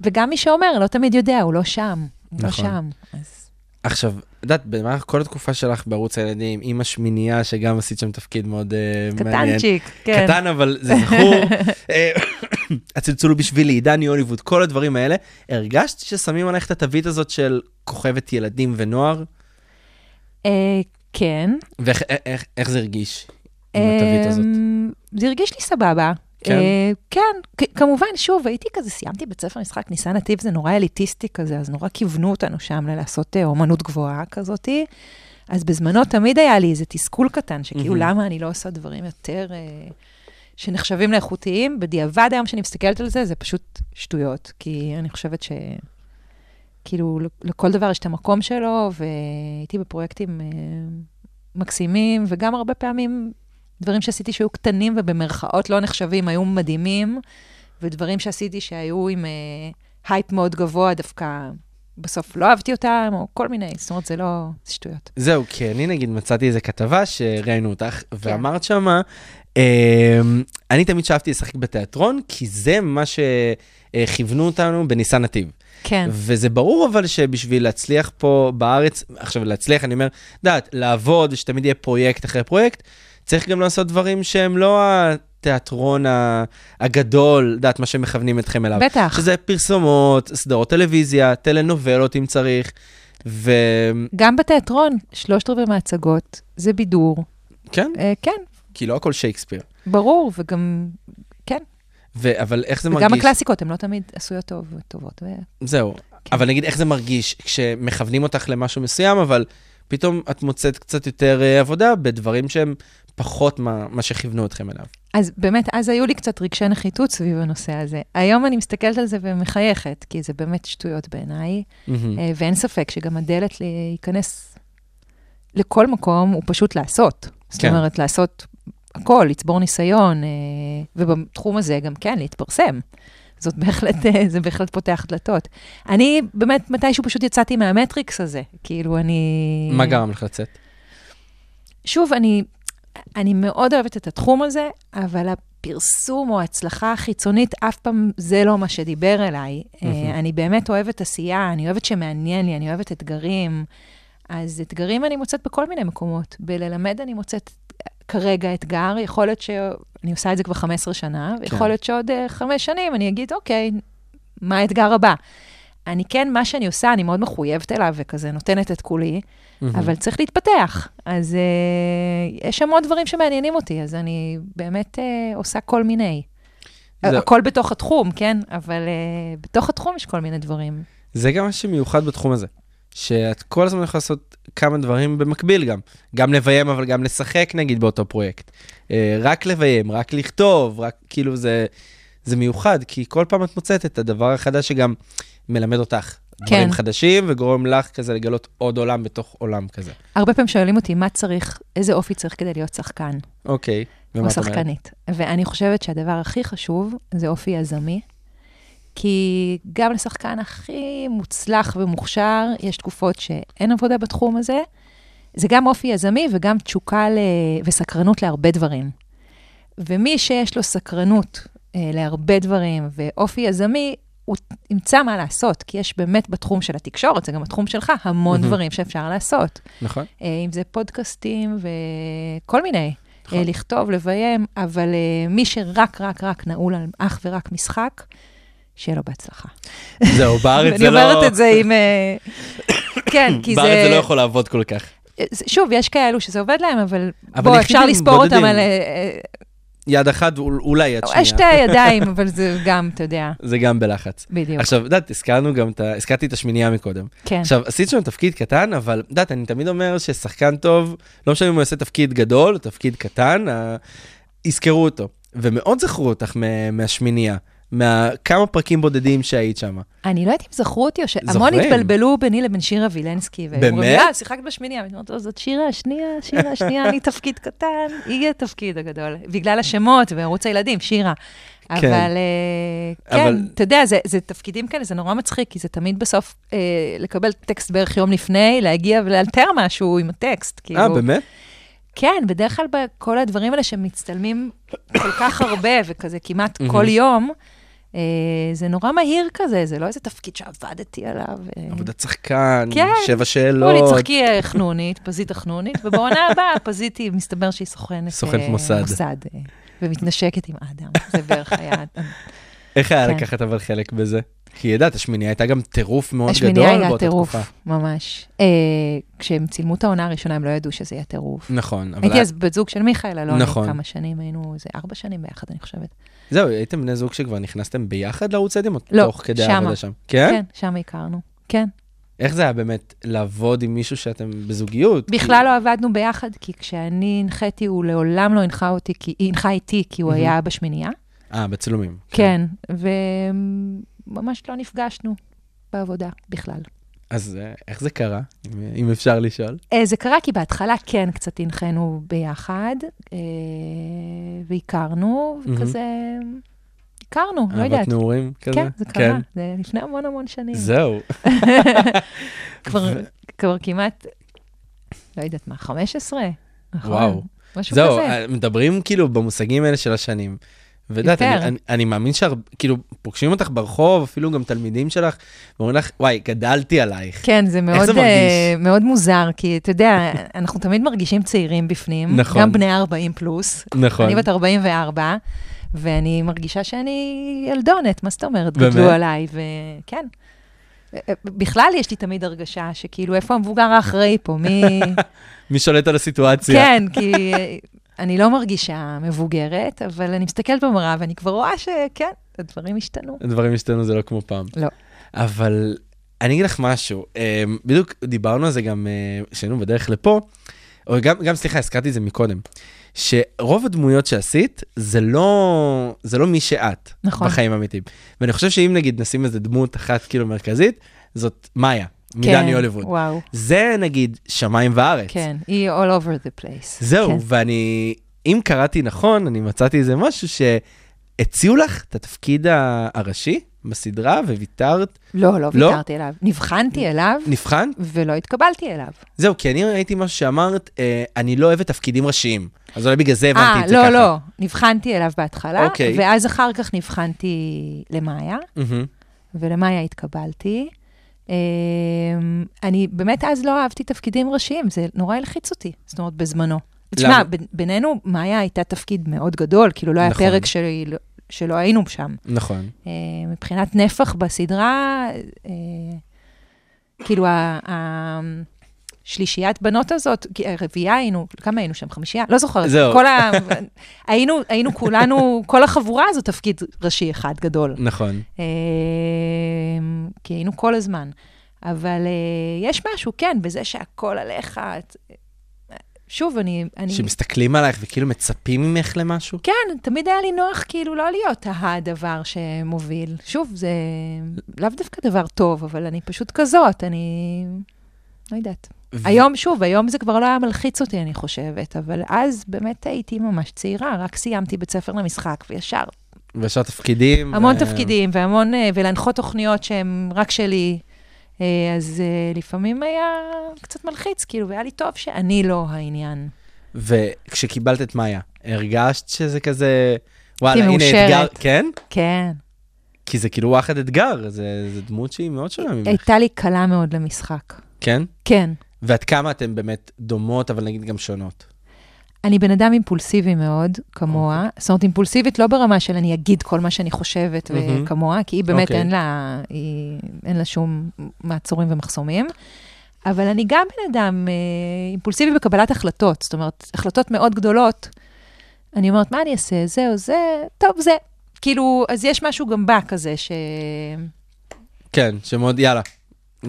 Speaker 5: וגם מי שאומר לא תמיד יודע, הוא לא שם. הוא לא
Speaker 4: נכון.
Speaker 5: שם. אז
Speaker 4: עכשיו, את יודעת, במהלך כל התקופה שלך בערוץ הילדים, עם השמינייה, שגם עשית שם תפקיד מאוד אה, מעניין.
Speaker 5: קטנצ'יק, כן.
Speaker 4: קטן, אבל זה זכור. אה, הצלצול הוא בשבילי, עידן יוליווד, כל הדברים האלה. הרגשת ששמים עלייך את התווית הזאת של כוכבת ילדים ונוער?
Speaker 5: אה, כן.
Speaker 4: ואיך איך- איך- איך זה הרגיש עם התווית הזאת?
Speaker 5: אמ, זה הרגיש לי סבבה.
Speaker 4: כן?
Speaker 5: אה, כן, כ- כמובן, שוב, הייתי כזה, סיימתי בית ספר משחק, ניסן נתיב זה נורא אליטיסטי כזה, אז נורא כיוונו אותנו שם ללעשות אה, אומנות גבוהה כזאתי. אז בזמנו תמיד היה לי איזה תסכול קטן, שכאילו,
Speaker 4: מהמם.
Speaker 5: למה אני לא עושה דברים יותר אה, שנחשבים לאיכותיים? בדיעבד היום שאני מסתכלת על זה, זה פשוט שטויות, כי אני חושבת ש... כאילו, לכל דבר יש את המקום שלו, והייתי בפרויקטים אה, מקסימים, וגם הרבה פעמים דברים שעשיתי שהיו קטנים ובמרכאות לא נחשבים, היו מדהימים, ודברים שעשיתי שהיו עם אה, הייפ מאוד גבוה, דווקא בסוף לא אהבתי אותם, או כל מיני, זאת אומרת, זה לא... זה שטויות.
Speaker 4: זהו, כי אני נגיד מצאתי איזה כתבה שראיינו
Speaker 5: כן.
Speaker 4: אותך, ואמרת שמה, אמ, אני תמיד שאפתי לשחק בתיאטרון, כי זה מה שכיוונו אותנו בניסן נתיב.
Speaker 5: כן,
Speaker 4: וזה ברור אבל שבשביל להצליח פה בארץ, עכשיו להצליח, אני אומר, דעת, לעבוד, שתמיד יהיה פרויקט אחרי פרויקט, צריך גם לעשות דברים שהם לא התיאטרון ה- הגדול, דעת, מה שמכוונים אתכם אליו.
Speaker 5: בטח.
Speaker 4: שזה פרסומות, סדרות טלוויזיה, טלנובלות אם צריך, וכן,
Speaker 5: גם בתיאטרון, שלושת רבעי מההצגות, זה בידור. אה, כן,
Speaker 4: כי לא הכל שייקספיר.
Speaker 5: ברור, וגם... כן,
Speaker 4: ו- אבל איך זה
Speaker 5: וגם
Speaker 4: מרגיש?
Speaker 5: הקלאסיקות, הן לא תמיד עשויות טוב, טובות. ו-
Speaker 4: זהו.
Speaker 5: כן.
Speaker 4: אבל נגיד, איך זה מרגיש כשמכוונים אותך למשהו מסוים, אבל פתאום את מוצאת קצת יותר אה, עבודה בדברים שהם פחות מה, מה שכיוונו אתכם אליו.
Speaker 5: אז באמת, אז היו לי קצת רגשי נחיתות סביב הנושא הזה. היום אני מסתכלת על זה ומחייכת, כי זה באמת שטויות בעיניי,
Speaker 4: Mm.
Speaker 5: אה, ואין ספק שגם הדלת להיכנס לכל מקום הוא פשוט לעשות. זאת
Speaker 4: כן.
Speaker 5: אומרת, לעשות הכל, לצבור ניסיון, אה, ובתחום הזה גם כן, להתפרסם. זאת בהחלט, אה, זה בהחלט פותח דלתות. אני באמת, מתישהו פשוט יצאתי מהמטריקס הזה. כאילו, אני...
Speaker 4: מה גרם לך לצאת?
Speaker 5: שוב, אני, אני מאוד אוהבת את התחום הזה, אבל הפרסום או ההצלחה החיצונית, אף פעם זה לא מה שדיבר אליי. אה, אני באמת אוהבת עשייה, אני אוהבת שמעניין לי, אני אוהבת אתגרים. אז אתגרים אני מוצאת בכל מיני מקומות. בללמד אני מוצאת כרגע אתגר, יכול להיות ש... אני עושה את זה כבר 15 שנה, ויכול להיות שעוד אה, חמש שנים אני אגיד, אוקיי, מה האתגר הבא? אני כן, מה שאני עושה, אני מאוד מחויבת אליו וכזה נותנת את כולי, אבל צריך להתפתח. אז אה, יש המון דברים שמעניינים אותי, אז אני באמת אה, עושה כל מיני.
Speaker 4: זה-
Speaker 5: הכל בתוך התחום, כן? אבל אה, בתוך התחום יש כל מיני דברים.
Speaker 4: זה גם מה שמיוחד בתחום הזה, שאת כל הזמן יכולה לעשות כמה דברים במקביל גם. גם לביים, אבל גם לשחק נגיד באותו פרויקט. אה, רק לביים, רק לכתוב, רק כאילו זה, זה מיוחד, כי כל פעם את מוצאת את הדבר החדש שגם מלמד אותך.
Speaker 5: כן.
Speaker 4: דברים חדשים, וגורם לך כזה לגלות עוד עולם בתוך עולם כזה.
Speaker 5: הרבה פעמים שואלים אותי, מה צריך, איזה אופי צריך כדי להיות שחקן
Speaker 4: אוקיי. ומה
Speaker 5: או
Speaker 4: את אומרת?
Speaker 5: שחקנית? ואני חושבת שהדבר הכי חשוב זה אופי יזמי, כי גם לשחקן הכי מוצלח ומוכשר, יש תקופות שאין עבודה בתחום הזה. זה גם אופי יזמי וגם תשוקה ל... וסקרנות להרבה דברים. ומי שיש לו סקרנות אה, להרבה דברים ואופי יזמי, הוא ימצא מה לעשות, כי יש באמת בתחום של התקשורת, זה גם התחום שלך, המון
Speaker 4: מהמם.
Speaker 5: דברים שאפשר לעשות.
Speaker 4: נכון.
Speaker 5: אה, אם זה פודקאסטים וכל מיני,
Speaker 4: נכון.
Speaker 5: אה, לכתוב, לביים, אבל אה, מי שרק, רק, רק נעול על אך ורק משחק, שיהיה לו בהצלחה.
Speaker 4: זהו, בארץ
Speaker 5: אני
Speaker 4: זה לא...
Speaker 5: אומרת את זה עם... אה, כן, כי זה...
Speaker 4: בארץ זה לא יכול לעבוד כל כך.
Speaker 5: אה, זה- שוב, יש כאלו שזה עובד להם, אבל,
Speaker 4: אבל
Speaker 5: בוא,
Speaker 4: יחידים,
Speaker 5: אפשר לספור
Speaker 4: בודדים.
Speaker 5: אותם על אה,
Speaker 4: יד אחת, אול- אולי יד
Speaker 5: אה,
Speaker 4: שנייה.
Speaker 5: שתי הידיים, אבל זה גם, אתה יודע,
Speaker 4: זה גם בלחץ.
Speaker 5: בדיוק.
Speaker 4: עכשיו, את יודעת, הזכרנו גם את ה... הזכרתי את השמינייה מקודם.
Speaker 5: כן,
Speaker 4: עכשיו, עשית שם תפקיד קטן, אבל את יודעת, אני תמיד אומר ששחקן טוב, לא משנה אם הוא יעשה תפקיד גדול או תפקיד קטן, ה... יזכרו אותו. ומאוד זכרו אותך מ- מהשמינייה, מכמה פרקים בודדים שהיית שם. אה,
Speaker 5: אני לא יודעת אם זכרו אותי או שהמון
Speaker 4: זוכרים.
Speaker 5: התבלבלו ביני לבין שירה וילנסקי. והם
Speaker 4: באמת?
Speaker 5: אומרים, אה, שיחקת בשמיניה. ואני אומרת, "לא, זאת שירה השנייה, שירה השנייה, אני תפקיד קטן, היא התפקיד הגדול. בגלל השמות וערוץ הילדים, שירה. אבל אה, כן,
Speaker 4: כן. אבל-
Speaker 5: אתה יודע, זה- זה תפקידים כאלה, זה נורא מצחיק, כי זה תמיד בסוף אה, לקבל טקסט בערך יום לפני, להגיע ולאלתר משהו עם הטקסט.
Speaker 4: אה,
Speaker 5: כאילו,
Speaker 4: באמת?
Speaker 5: כן, בדרך כלל בכל הדברים האלה שמצטלמים כל כך הרבה, וכזה כמעט כל יום, אה, זה נורא מהיר כזה, זה לא איזה תפקיד שעבדתי עליו. אה.
Speaker 4: עבודת שחקן,
Speaker 5: כן.
Speaker 4: שבע
Speaker 5: בואי,
Speaker 4: שאלות.
Speaker 5: תשחקי אה, חנונית, פזית החנונית, ובעונה הבאה פזית היא, מסתבר שהיא סוכנת
Speaker 4: סוכנת
Speaker 5: אה,
Speaker 4: מוסד.
Speaker 5: מוסד אה, ומתנשקת עם אדם, זה בערך היה...
Speaker 4: איך היה
Speaker 5: כן.
Speaker 4: לקחת אבל חלק בזה? כי ידעת, השמינייה הייתה גם טירוף מאוד גדול
Speaker 5: השמינייה היה
Speaker 4: באותה תקופה.
Speaker 5: טירוף, ממש. אה, כשהם צילמו את העונה הראשונה, הם לא ידעו שזה יהיה טירוף.
Speaker 4: נכון, אבל
Speaker 5: הייתי אז בת זוג של מיכאל אלוני,
Speaker 4: נכון.
Speaker 5: כמה שנים היינו, זה ארבע שנים ביחד, אני חושבת.
Speaker 4: זהו, הייתם בני זוג שכבר נכנסתם ביחד לערוץ עדים? או
Speaker 5: לא,
Speaker 4: תוך כדי
Speaker 5: שמה.
Speaker 4: העבודה שם. כן?
Speaker 5: כן, שם הכרנו, כן.
Speaker 4: איך זה היה באמת לעבוד עם מישהו שאתם בזוגיות?
Speaker 5: בכלל לא עבדנו ביחד, כי כשאני הנחיתי, הוא לעולם לא הנחה אותי, כי היא הנחה איתי, כי הוא
Speaker 4: מהמם.
Speaker 5: היה בשמינייה.
Speaker 4: כי- אה, בצילומים.
Speaker 5: כן, וממש לא נפגשנו בעבודה בכלל.
Speaker 4: אז אה, איך זה קרה, אם- אם אפשר לשאול?
Speaker 5: אה, זה קרה כי בהתחלה כן קצת הנחינו ביחד, אה, והכרנו,
Speaker 4: מהמם.
Speaker 5: וכזה... הכרנו, לא
Speaker 4: אהבת
Speaker 5: יודעת.
Speaker 4: נעורים כזה?
Speaker 5: כן, זה קרה, זה לפני המון המון שנים.
Speaker 4: זהו.
Speaker 5: כבר- כבר כמעט, לא יודעת מה, 15? נכון.
Speaker 4: וואו.
Speaker 5: משהו
Speaker 4: זהו,
Speaker 5: כזה.
Speaker 4: אה, מדברים כאילו במושגים האלה של השנים. ואת
Speaker 5: יותר.
Speaker 4: אני, אני, אני מאמין שכאילו פוגשים אותך ברחוב, אפילו גם תלמידים שלך, ואומרים לך, וואי, גדלתי עלייך.
Speaker 5: כן, זה מאוד,
Speaker 4: זה
Speaker 5: אה,
Speaker 4: מרגיש?
Speaker 5: מאוד מוזר, כי אתה יודע, אנחנו תמיד מרגישים צעירים בפנים,
Speaker 4: נכון.
Speaker 5: גם בני 40 פלוס.
Speaker 4: נכון.
Speaker 5: אני בת 44, ואני מרגישה שאני ילדונת, מה זאת אומרת?
Speaker 4: באמת?
Speaker 5: גדלו עליי, וכן. אה, בכלל יש לי תמיד הרגשה שכאילו, איפה המבוגר האחראי פה? מי...
Speaker 4: מי שולט על הסיטואציה?
Speaker 5: כן, כי אה, אני לא מרגישה מבוגרת, אבל אני מסתכלת במראה ואני כבר רואה שכן, הדברים השתנו.
Speaker 4: דברים השתנו זה לא כמו פעם.
Speaker 5: לא.
Speaker 4: אבל אני אגיד לך משהו, אה, בדיוק דיברנו על זה גם אה, כשהיינו בדרך לפה, או גם, גם סליחה, הזכרתי את זה מקודם, שרוב הדמויות שעשית, זה לא, זה לא מי שאת
Speaker 5: נכון.
Speaker 4: בחיים האמיתיים. ואני חושב שאם נגיד נשים איזה דמות אחת כאילו מרכזית, זאת מאיה, מדני
Speaker 5: כן,
Speaker 4: הוליווד.
Speaker 5: וואו.
Speaker 4: זה נגיד שמיים וארץ.
Speaker 5: כן, היא all over the place.
Speaker 4: זהו,
Speaker 5: כן.
Speaker 4: ואני, אם קראתי נכון, אני מצאתי איזה משהו שהציעו לך את התפקיד ה- הראשי בסדרה, וויתרת,
Speaker 5: לא, לא
Speaker 4: לא?
Speaker 5: ויתרתי אליו. נבחנתי אליו,
Speaker 4: נבחנת?
Speaker 5: ולא התקבלתי אליו.
Speaker 4: זהו, כי אני ראיתי משהו שאמרת, אה, אני לא אוהבת תפקידים ראשיים. אז אולי בגלל זה הבנתי
Speaker 5: אה,
Speaker 4: את זה ככה.
Speaker 5: לא, לא, נבחנתי אליו בהתחלה,
Speaker 4: אוקיי.
Speaker 5: ואז אחר כך נבחנתי למאיה,
Speaker 4: מהמם.
Speaker 5: ולמאיה התקבלתי. אמ, אני באמת אז לא אהבתי תפקידים ראשיים, זה נורא הלחיץ אותי, זאת אומרת, בזמנו. תשמע, ב- בינינו, מאיה הייתה תפקיד מאוד גדול, כאילו לא היה
Speaker 4: נכון.
Speaker 5: פרק שלי- שלא היינו שם.
Speaker 4: נכון.
Speaker 5: אה, מבחינת נפח בסדרה, אה, כאילו ה- ה- השלישיית בנות הזאת, כי הרביעייה היינו, כמה היינו שם? חמישייה? לא זוכרת.
Speaker 4: זהו.
Speaker 5: כל ה... היינו, היינו כולנו, כל החבורה הזו תפקיד ראשי אחד גדול.
Speaker 4: נכון.
Speaker 5: אה, כי היינו כל הזמן. אבל אה, יש משהו, כן, בזה שהכל עליך. את- שוב, אני... אני...
Speaker 4: שמסתכלים עלייך וכאילו מצפים ממך למשהו?
Speaker 5: כן, תמיד היה לי נוח כאילו לא להיות הדבר שמוביל. שוב, זה לאו דווקא דבר טוב, אבל אני פשוט כזאת, אני לא יודעת.
Speaker 4: ו-
Speaker 5: היום, שוב, היום זה כבר לא היה מלחיץ אותי, אני חושבת, אבל אז באמת הייתי ממש צעירה, רק סיימתי בית ספר למשחק, וישר
Speaker 4: וישר תפקידים.
Speaker 5: המון
Speaker 4: ו-
Speaker 5: תפקידים והמון, אה, ולהנחות תוכניות שהן רק שלי. אה, אז אה, לפעמים היה קצת מלחיץ, כאילו, והיה לי טוב שאני לא העניין.
Speaker 4: וכשקיבלת את מאיה, הרגשת שזה כזה, וואלה,
Speaker 5: הייתי
Speaker 4: הנה אתגר,
Speaker 5: מאושרת.
Speaker 4: כן?
Speaker 5: כן.
Speaker 4: כי זה כאילו וואחד אתגר, זה זה דמות שהיא מאוד שונה ממך.
Speaker 5: הייתה לי קלה מאוד למשחק.
Speaker 4: כן?
Speaker 5: כן.
Speaker 4: ועד כמה אתן באמת דומות, אבל נגיד גם שונות.
Speaker 5: אני בן אדם אימפולסיבי מאוד, כמוה.
Speaker 4: אוקיי.
Speaker 5: זאת אומרת, אימפולסיבית לא ברמה של אני אגיד כל מה שאני חושבת
Speaker 4: מהמם.
Speaker 5: וכמוה, כי היא באמת
Speaker 4: אוקיי.
Speaker 5: אין לה, היא, אין לה שום מעצורים ומחסומים. אבל אני גם בן אדם אה, אימפולסיבי בקבלת החלטות. זאת אומרת, החלטות מאוד גדולות. אני אומרת, מה אני אעשה? זה או זה? טוב, זה. כאילו, אז יש משהו גם בה כזה, ש...
Speaker 4: כן, שמאוד, יאללה.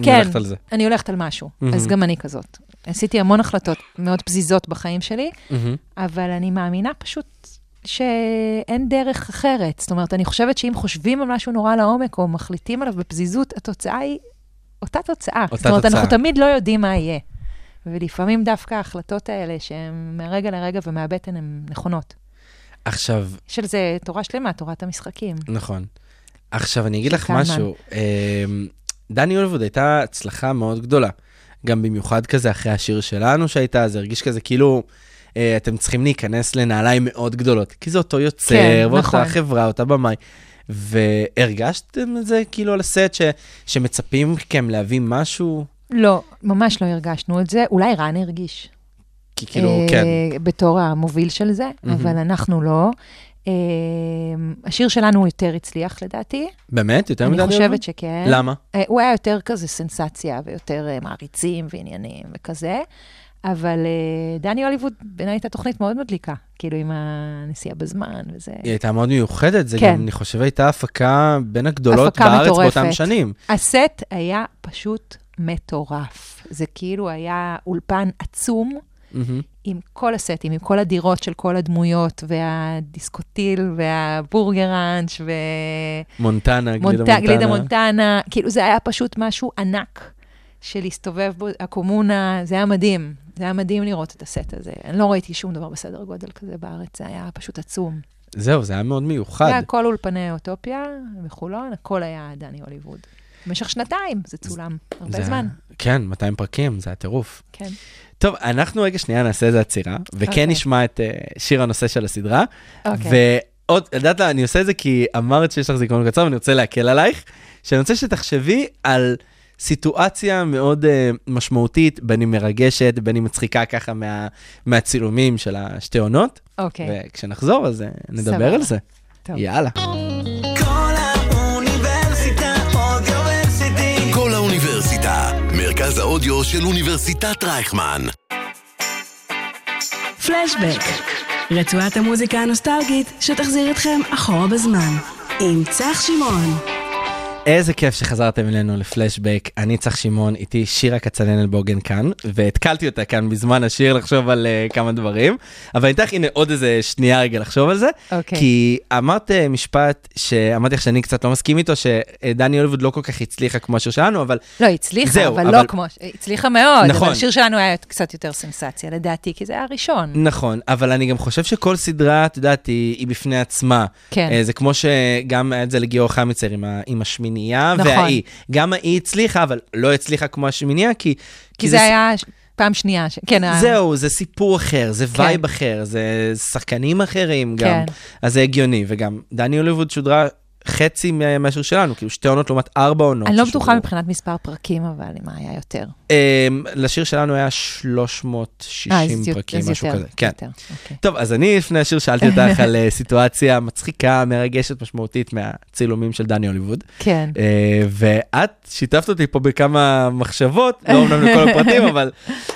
Speaker 5: כן.
Speaker 4: נלכת על זה.
Speaker 5: אני הולכת על משהו. אז גם אני כזאת. עשיתי המון החלטות מאוד פזיזות בחיים שלי.
Speaker 4: מהמם.
Speaker 5: אבל אני מאמינה פשוט שאין דרך אחרת. זאת אומרת, אני חושבת שאם חושבים על משהו נורא לעומק, או מחליטים עליו בפזיזות, התוצאה היא אותה תוצאה.
Speaker 4: אותה
Speaker 5: זאת אומרת,
Speaker 4: תוצאה.
Speaker 5: אנחנו תמיד לא יודעים מה יהיה. ולפעמים דווקא ההחלטות האלה, שהן מהרגע לרגע ומהבטן, הן נכונות.
Speaker 4: עכשיו,
Speaker 5: יש על זה תורה שלמה, תורת המשחקים.
Speaker 4: נכון. עכשיו, אני אגיד לך
Speaker 5: קלמן.
Speaker 4: משהו. אמ, דני אולווד הייתה הצלחה מאוד גדולה. גם במיוחד כזה אחרי השיר שלנו שהייתה, זה הרגיש כזה כאילו אה, אתם צריכים להיכנס לנעליים מאוד גדולות. כי זה אותו יוצר,
Speaker 5: כן,
Speaker 4: ואותה
Speaker 5: נכון.
Speaker 4: חברה, אותה במאי. והרגשתם את זה כאילו על הסט ש, שמצפים מכם להביא משהו?
Speaker 5: לא, ממש לא הרגשנו את זה. אולי רן הרגיש.
Speaker 4: כי כאילו,
Speaker 5: אה,
Speaker 4: כן.
Speaker 5: בתור המוביל של זה,
Speaker 4: מהמם.
Speaker 5: אבל אנחנו לא. אה, השיר שלנו יותר הצליח, לדעתי.
Speaker 4: באמת? יותר מדני
Speaker 5: אני
Speaker 4: אולווד?
Speaker 5: חושבת שכן.
Speaker 4: למה?
Speaker 5: אה, הוא היה יותר כזה סנסציה ויותר אה, מעריצים ועניינים וכזה, אבל אה, דני הוליווד בעיניי הייתה תוכנית מאוד מדליקה, כאילו עם הנסיעה בזמן וזה.
Speaker 4: היא הייתה מאוד מיוחדת, זה
Speaker 5: כן.
Speaker 4: גם, אני חושב, הייתה הפקה בין הגדולות
Speaker 5: הפקה
Speaker 4: בארץ באותם
Speaker 5: מטורפת.
Speaker 4: שנים.
Speaker 5: הסט היה פשוט מטורף. זה כאילו היה אולפן עצום.
Speaker 4: מהמם.
Speaker 5: עם כל הסטים, עם כל הדירות של כל הדמויות, והדיסקוטיל, והבורגראנץ', ו...
Speaker 4: מונטנה, גלידה
Speaker 5: מונט...
Speaker 4: מונטנה.
Speaker 5: גלידה מונטנה, כאילו זה היה פשוט משהו ענק של להסתובב בו, הקומונה, זה היה מדהים. זה היה מדהים לראות את הסט הזה. אני לא ראיתי שום דבר בסדר גודל כזה בארץ, זה היה פשוט עצום.
Speaker 4: זהו, זה היה מאוד מיוחד.
Speaker 5: זה היה כל אולפני אוטופיה בחולון, הכל היה דני הוליווד. במשך שנתיים זה צולם,
Speaker 4: זה
Speaker 5: הרבה
Speaker 4: היה-
Speaker 5: זמן,
Speaker 4: כן, 200 פרקים, זה היה טירוף.
Speaker 5: כן.
Speaker 4: טוב, אנחנו רגע שנייה נעשה איזה עצירה, וכן
Speaker 5: אוקיי.
Speaker 4: נשמע את אה, שיר הנושא של הסדרה.
Speaker 5: אוקיי.
Speaker 4: ועוד, את יודעת לה, אני עושה את זה כי אמרת שיש לך זיכרון קצר, ואני רוצה להקל עלייך, שאני רוצה שתחשבי על סיטואציה מאוד אה, משמעותית, בין אם מרגשת, בין אם מצחיקה ככה מה- מהצילומים של השתי עונות,
Speaker 5: אוקיי,
Speaker 4: וכשנחזור אז אה, נדבר
Speaker 5: סבבה.
Speaker 4: על זה.
Speaker 5: טוב.
Speaker 4: יאללה.
Speaker 6: כל האוניברסיטה אודיוורסיטי.
Speaker 2: כל האוניברסיטה, מרכז האודיו של אוניברסיטת רייכמן.
Speaker 3: פלשבק, רצועת המוזיקה הנוסטלגית שתחזיר אתכם אחורה בזמן, עם צח שמעון.
Speaker 4: איזה כיף שחזרתם אלינו לפלשבק. אני צריך שמעון, איתי שירה כצנלן בוגן כאן, והתקלתי אותה כאן בזמן השיר לחשוב על uh, כמה דברים, אבל אני אתן לך הנה עוד איזה שנייה רגע לחשוב על זה,
Speaker 5: אוקיי.
Speaker 4: כי אמרת אה, משפט שאמרתי לך שאני קצת לא מסכים איתו, שדני הוליווד לא כל כך הצליחה כמו השיר שלנו, אבל
Speaker 5: לא, היא הצליחה,
Speaker 4: זהו,
Speaker 5: אבל,
Speaker 4: אבל-
Speaker 5: לא כמו... הצליחה מאוד,
Speaker 4: נכון.
Speaker 5: אבל השיר שלנו היה קצת יותר סנסציה, לדעתי, כי זה היה הראשון.
Speaker 4: נכון, אבל אני גם חושב שכל סדרה, את יודעת, היא, היא בפני עצמה.
Speaker 5: כן.
Speaker 4: אה, זה כמו שגם היה את זה לגיאור חמיצר עם, ה, עם השמינייה
Speaker 5: נכון.
Speaker 4: והאי. גם האי הצליחה, אבל לא הצליחה כמו השמינייה, כי...
Speaker 5: כי זה היה ש- פעם שנייה, ש- כן, ה-
Speaker 4: זהו, זה סיפור אחר, זה
Speaker 5: כן.
Speaker 4: וייב אחר, זה שחקנים אחרים גם.
Speaker 5: כן.
Speaker 4: אז זה הגיוני, וגם דני הוליווד שודרה חצי מה- מהשיר שלנו, כאילו שתי עונות לעומת ארבע עונות.
Speaker 5: אני לא
Speaker 4: ששודרו.
Speaker 5: בטוחה מבחינת מספר פרקים, אבל מה היה יותר.
Speaker 4: אמ, לשיר שלנו היה
Speaker 5: אה, אז
Speaker 4: 360
Speaker 5: יו-
Speaker 4: פרקים,
Speaker 5: אז
Speaker 4: משהו
Speaker 5: יותר,
Speaker 4: כזה. כן.
Speaker 5: יותר, אוקיי.
Speaker 4: טוב, אז אני לפני השיר שאלתי אותך על אה, סיטואציה מצחיקה, מרגשת, משמעותית מהצילומים של דני הוליווד.
Speaker 5: כן.
Speaker 4: אה, ואת שיתפת אותי פה בכמה מחשבות, לא אומנם לכל הפרטים, אבל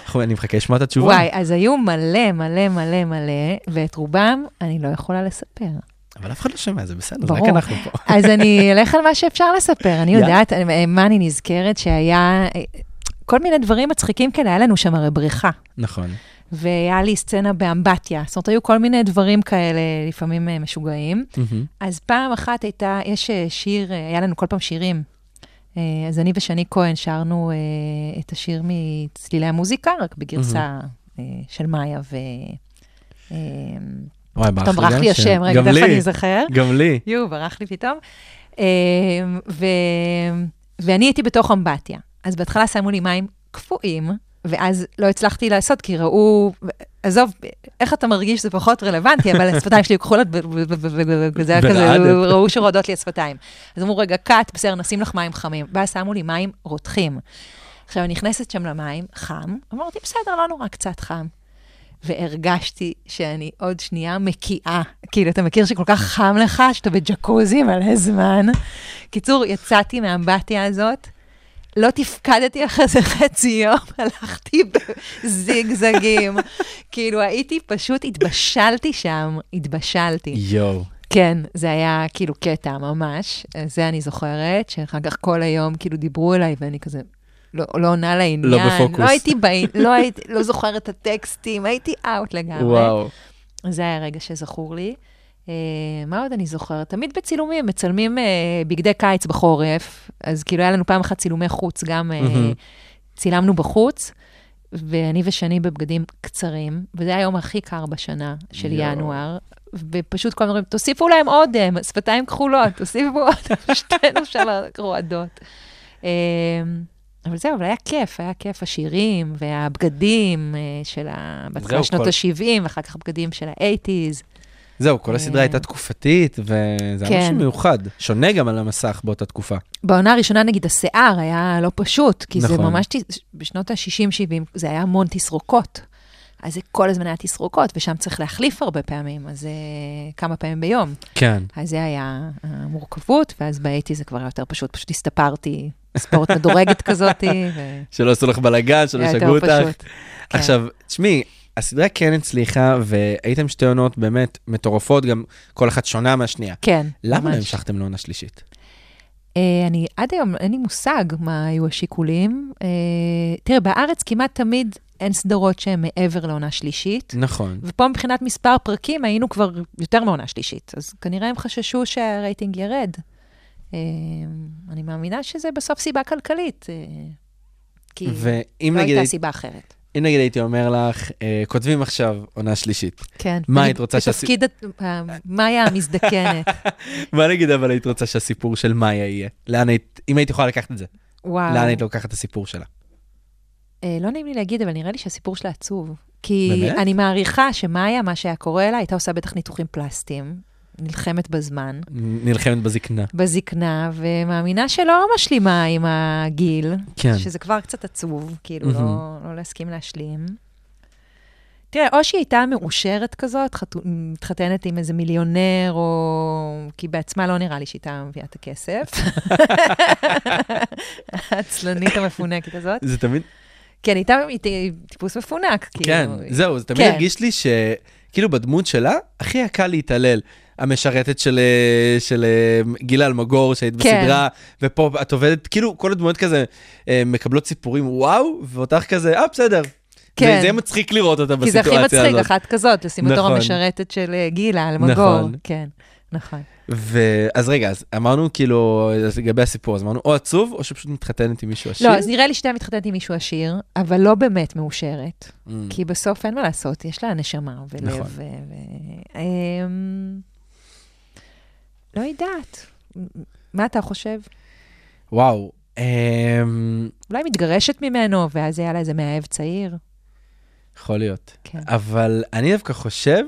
Speaker 4: אנחנו- אני מחכה לשמוע את התשובה.
Speaker 5: וואי, אז היו מלא, מלא, מלא, מלא, ואת רובם אני לא יכולה לספר.
Speaker 4: אבל אף אחד לא שומע, זה בסדר, רק
Speaker 5: ברור.
Speaker 4: אנחנו פה.
Speaker 5: אז אני אלך על מה שאפשר לספר. אני
Speaker 4: יאללה.
Speaker 5: יודעת אה, מה אני נזכרת, שהיה אה, כל מיני דברים מצחיקים כאלה, היה לנו שם הרי בריכה.
Speaker 4: נכון.
Speaker 5: והיה לי סצנה באמבטיה. זאת אומרת, היו כל מיני דברים כאלה, לפעמים אה, משוגעים. אז פעם אחת הייתה, יש אה, שיר, אה, היה לנו כל פעם שירים. אה, אז אני ושני כהן שרנו אה, את השיר מצלילי המוזיקה, רק בגרסה אה, של מאיה ו... אה,
Speaker 4: וואי, ברח
Speaker 5: פתאום ברח
Speaker 4: גם
Speaker 5: לי
Speaker 4: שם.
Speaker 5: השם, רגע,
Speaker 4: גם
Speaker 5: תכף
Speaker 4: לי,
Speaker 5: אני אזכר.
Speaker 4: גם לי.
Speaker 5: יו, ברח לי פתאום. אה, ו... ואני הייתי בתוך אמבטיה. אז בהתחלה שמו לי מים קפואים, ואז לא הצלחתי לעשות, כי ראו, עזוב, איך אתה מרגיש זה פחות רלוונטי, אבל השפתיים שלי כחולות, ו- ו- ו- ו- ו- וזה היה כזה,
Speaker 4: ורעדת.
Speaker 5: ראו שרועדות לי השפתיים. אז אמרו, רגע, קאט, בסדר, נשים לך מים חמים. ואז שמו לי מים רותחים. עכשיו, אני נכנסת שם למים, חם, אמרתי, בסדר, לא נורא, קצת חם. והרגשתי שאני עוד שנייה מקיאה. כאילו, אתה מכיר שכל כך חם לך, שאתה בג'קוזי מלא זמן? קיצור, יצאתי מהאמבטיה הזאת, לא תפקדתי אחרי זה חצי יום, הלכתי בזיגזגים. כאילו, הייתי, פשוט התבשלתי שם, התבשלתי.
Speaker 4: יואו.
Speaker 5: כן, זה היה כאילו קטע ממש, זה אני זוכרת, שאחר כך כל היום כאילו דיברו אליי ואני כזה... לא, לא עונה לעניין,
Speaker 4: לא בפוקוס.
Speaker 5: לא הייתי, ב... לא, הייתי לא זוכרת את הטקסטים, הייתי אאוט לגמרי.
Speaker 4: וואו.
Speaker 5: זה היה רגע שזכור לי. אה, מה עוד אני זוכרת? תמיד בצילומים, מצלמים אה, בגדי קיץ בחורף, אז כאילו היה לנו פעם אחת צילומי חוץ, גם אה,
Speaker 4: מהמם.
Speaker 5: צילמנו בחוץ, ואני ושני בבגדים קצרים, וזה היה היום הכי קר בשנה של
Speaker 4: יואו.
Speaker 5: ינואר, ופשוט כל הזמן אומרים, תוסיפו להם עוד אה, שפתיים כחולות, תוסיפו עוד, שתינו שם רועדות. אה, אבל זהו, אבל היה כיף, היה כיף, השירים והבגדים אה, של ה... בהתחלה
Speaker 4: זהו,
Speaker 5: שנות
Speaker 4: כל-
Speaker 5: ה-70, ואחר כך בגדים של ה-80's.
Speaker 4: זהו, כל הסדרה
Speaker 5: אה.
Speaker 4: הייתה תקופתית, וזה היה
Speaker 5: כן.
Speaker 4: משהו מיוחד. שונה גם על המסך באותה תקופה.
Speaker 5: בעונה הראשונה, נגיד, השיער היה לא פשוט, כי זה
Speaker 4: נכון.
Speaker 5: ממש, ת- בשנות ה-60-70, זה היה המון תסרוקות. אז זה כל הזמן היה תסרוקות, ושם צריך להחליף הרבה פעמים, אז אה, כמה פעמים ביום.
Speaker 4: כן.
Speaker 5: אז זה היה המורכבות, ואז באתי זה כבר היה יותר פשוט, פשוט הסתפרתי, ספורט מדורגת כזאתי, ו...
Speaker 4: שלא עשו לך בלאגן, שלא
Speaker 5: היה יותר
Speaker 4: שגעו אותך.
Speaker 5: פשוט. כן.
Speaker 4: עכשיו, תשמעי, הסדרה כן הצליחה, והייתם שתי עונות באמת מטורפות, גם כל אחת שונה מהשנייה.
Speaker 5: כן,
Speaker 4: למה
Speaker 5: ממש.
Speaker 4: לא המשכתם לעונה שלישית?
Speaker 5: אה, אני עד היום, אין לי מושג מה היו השיקולים. אה, תראה, בארץ כמעט תמיד אין סדרות שהן מעבר לעונה שלישית.
Speaker 4: נכון.
Speaker 5: ופה מבחינת מספר פרקים היינו כבר יותר מעונה שלישית, אז כנראה הם חששו שהרייטינג ירד. אה, אני מאמינה שזה בסוף סיבה כלכלית, אה, כי
Speaker 4: ואם
Speaker 5: לא
Speaker 4: נגיד
Speaker 5: הייתה
Speaker 4: היית-
Speaker 5: סיבה אחרת.
Speaker 4: אם נגיד הייתי אומר לך, אה, כותבים עכשיו עונה שלישית.
Speaker 5: כן.
Speaker 4: מה
Speaker 5: אני-
Speaker 4: היית רוצה שהסי-
Speaker 5: בתפקיד הת- ה- מאיה המזדקנת,
Speaker 4: מה נגיד אבל היית רוצה שהסיפור של מאיה יהיה? לאן היית, אם היית יכולה לקחת את זה,
Speaker 5: וואו.
Speaker 4: לאן היית לוקחת את הסיפור שלה?
Speaker 5: אה, לא נעים לי להגיד, אבל נראה לי שהסיפור שלה עצוב. כי
Speaker 4: באמת?
Speaker 5: אני מעריכה שמאיה, מה שהיה קורה לה, הייתה עושה בטח ניתוחים פלסטיים, נלחמת בזמן,
Speaker 4: נלחמת בזקנה.
Speaker 5: בזקנה, ומאמינה שלא משלימה עם הגיל,
Speaker 4: כן.
Speaker 5: שזה כבר קצת עצוב, כאילו,
Speaker 4: מהמם.
Speaker 5: לא, לא להסכים להשלים. תראה, או שהיא הייתה מאושרת כזאת, חתו- מתחתנת עם איזה מיליונר, או... כי בעצמה לא נראה לי שהיא הייתה מביאה את הכסף. העצלנית המפונקת הזאת.
Speaker 4: זה תמיד,
Speaker 5: כי אני איתה היא ט- טיפוס מפונק,
Speaker 4: כן,
Speaker 5: כאילו.
Speaker 4: זהו, זה תמיד
Speaker 5: כן.
Speaker 4: הרגיש לי שכאילו בדמות שלה, הכי היה קל להתעלל. המשרתת של, אה, של אה, גילה אלמגור שהיית
Speaker 5: כן.
Speaker 4: בסדרה, ופה את עובדת, כאילו כל הדמויות כזה אה, מקבלות סיפורים וואו, ואותך כזה, אה בסדר.
Speaker 5: כן.
Speaker 4: וזה מצחיק לראות אותה
Speaker 5: כי זה
Speaker 4: בסיטואציה
Speaker 5: הכי
Speaker 4: הזאת.
Speaker 5: מצחיק, אחת כזאת, לשים בתור
Speaker 4: נכון.
Speaker 5: המשרתת של אה, גילה, אלמגור.
Speaker 4: נכון.
Speaker 5: כן, נכון.
Speaker 4: ו- אז רגע, אז אמרנו כאילו, אז לגבי הסיפור, אז אמרנו או עצוב, או שפשוט מתחתנת עם מישהו עשיר.
Speaker 5: לא, אז נראה לי שתיה מתחתנת עם מישהו עשיר, אבל לא באמת מאושרת.
Speaker 4: Mm.
Speaker 5: כי בסוף אין מה לעשות, יש לה נשמה ולב.
Speaker 4: נכון.
Speaker 5: ו... ו- אמ, לא יודעת. מה אתה חושב?
Speaker 4: וואו. אמ,
Speaker 5: אולי מתגרשת ממנו, ואז היה לה איזה מאהב צעיר?
Speaker 4: יכול להיות.
Speaker 5: כן.
Speaker 4: אבל אני דווקא חושב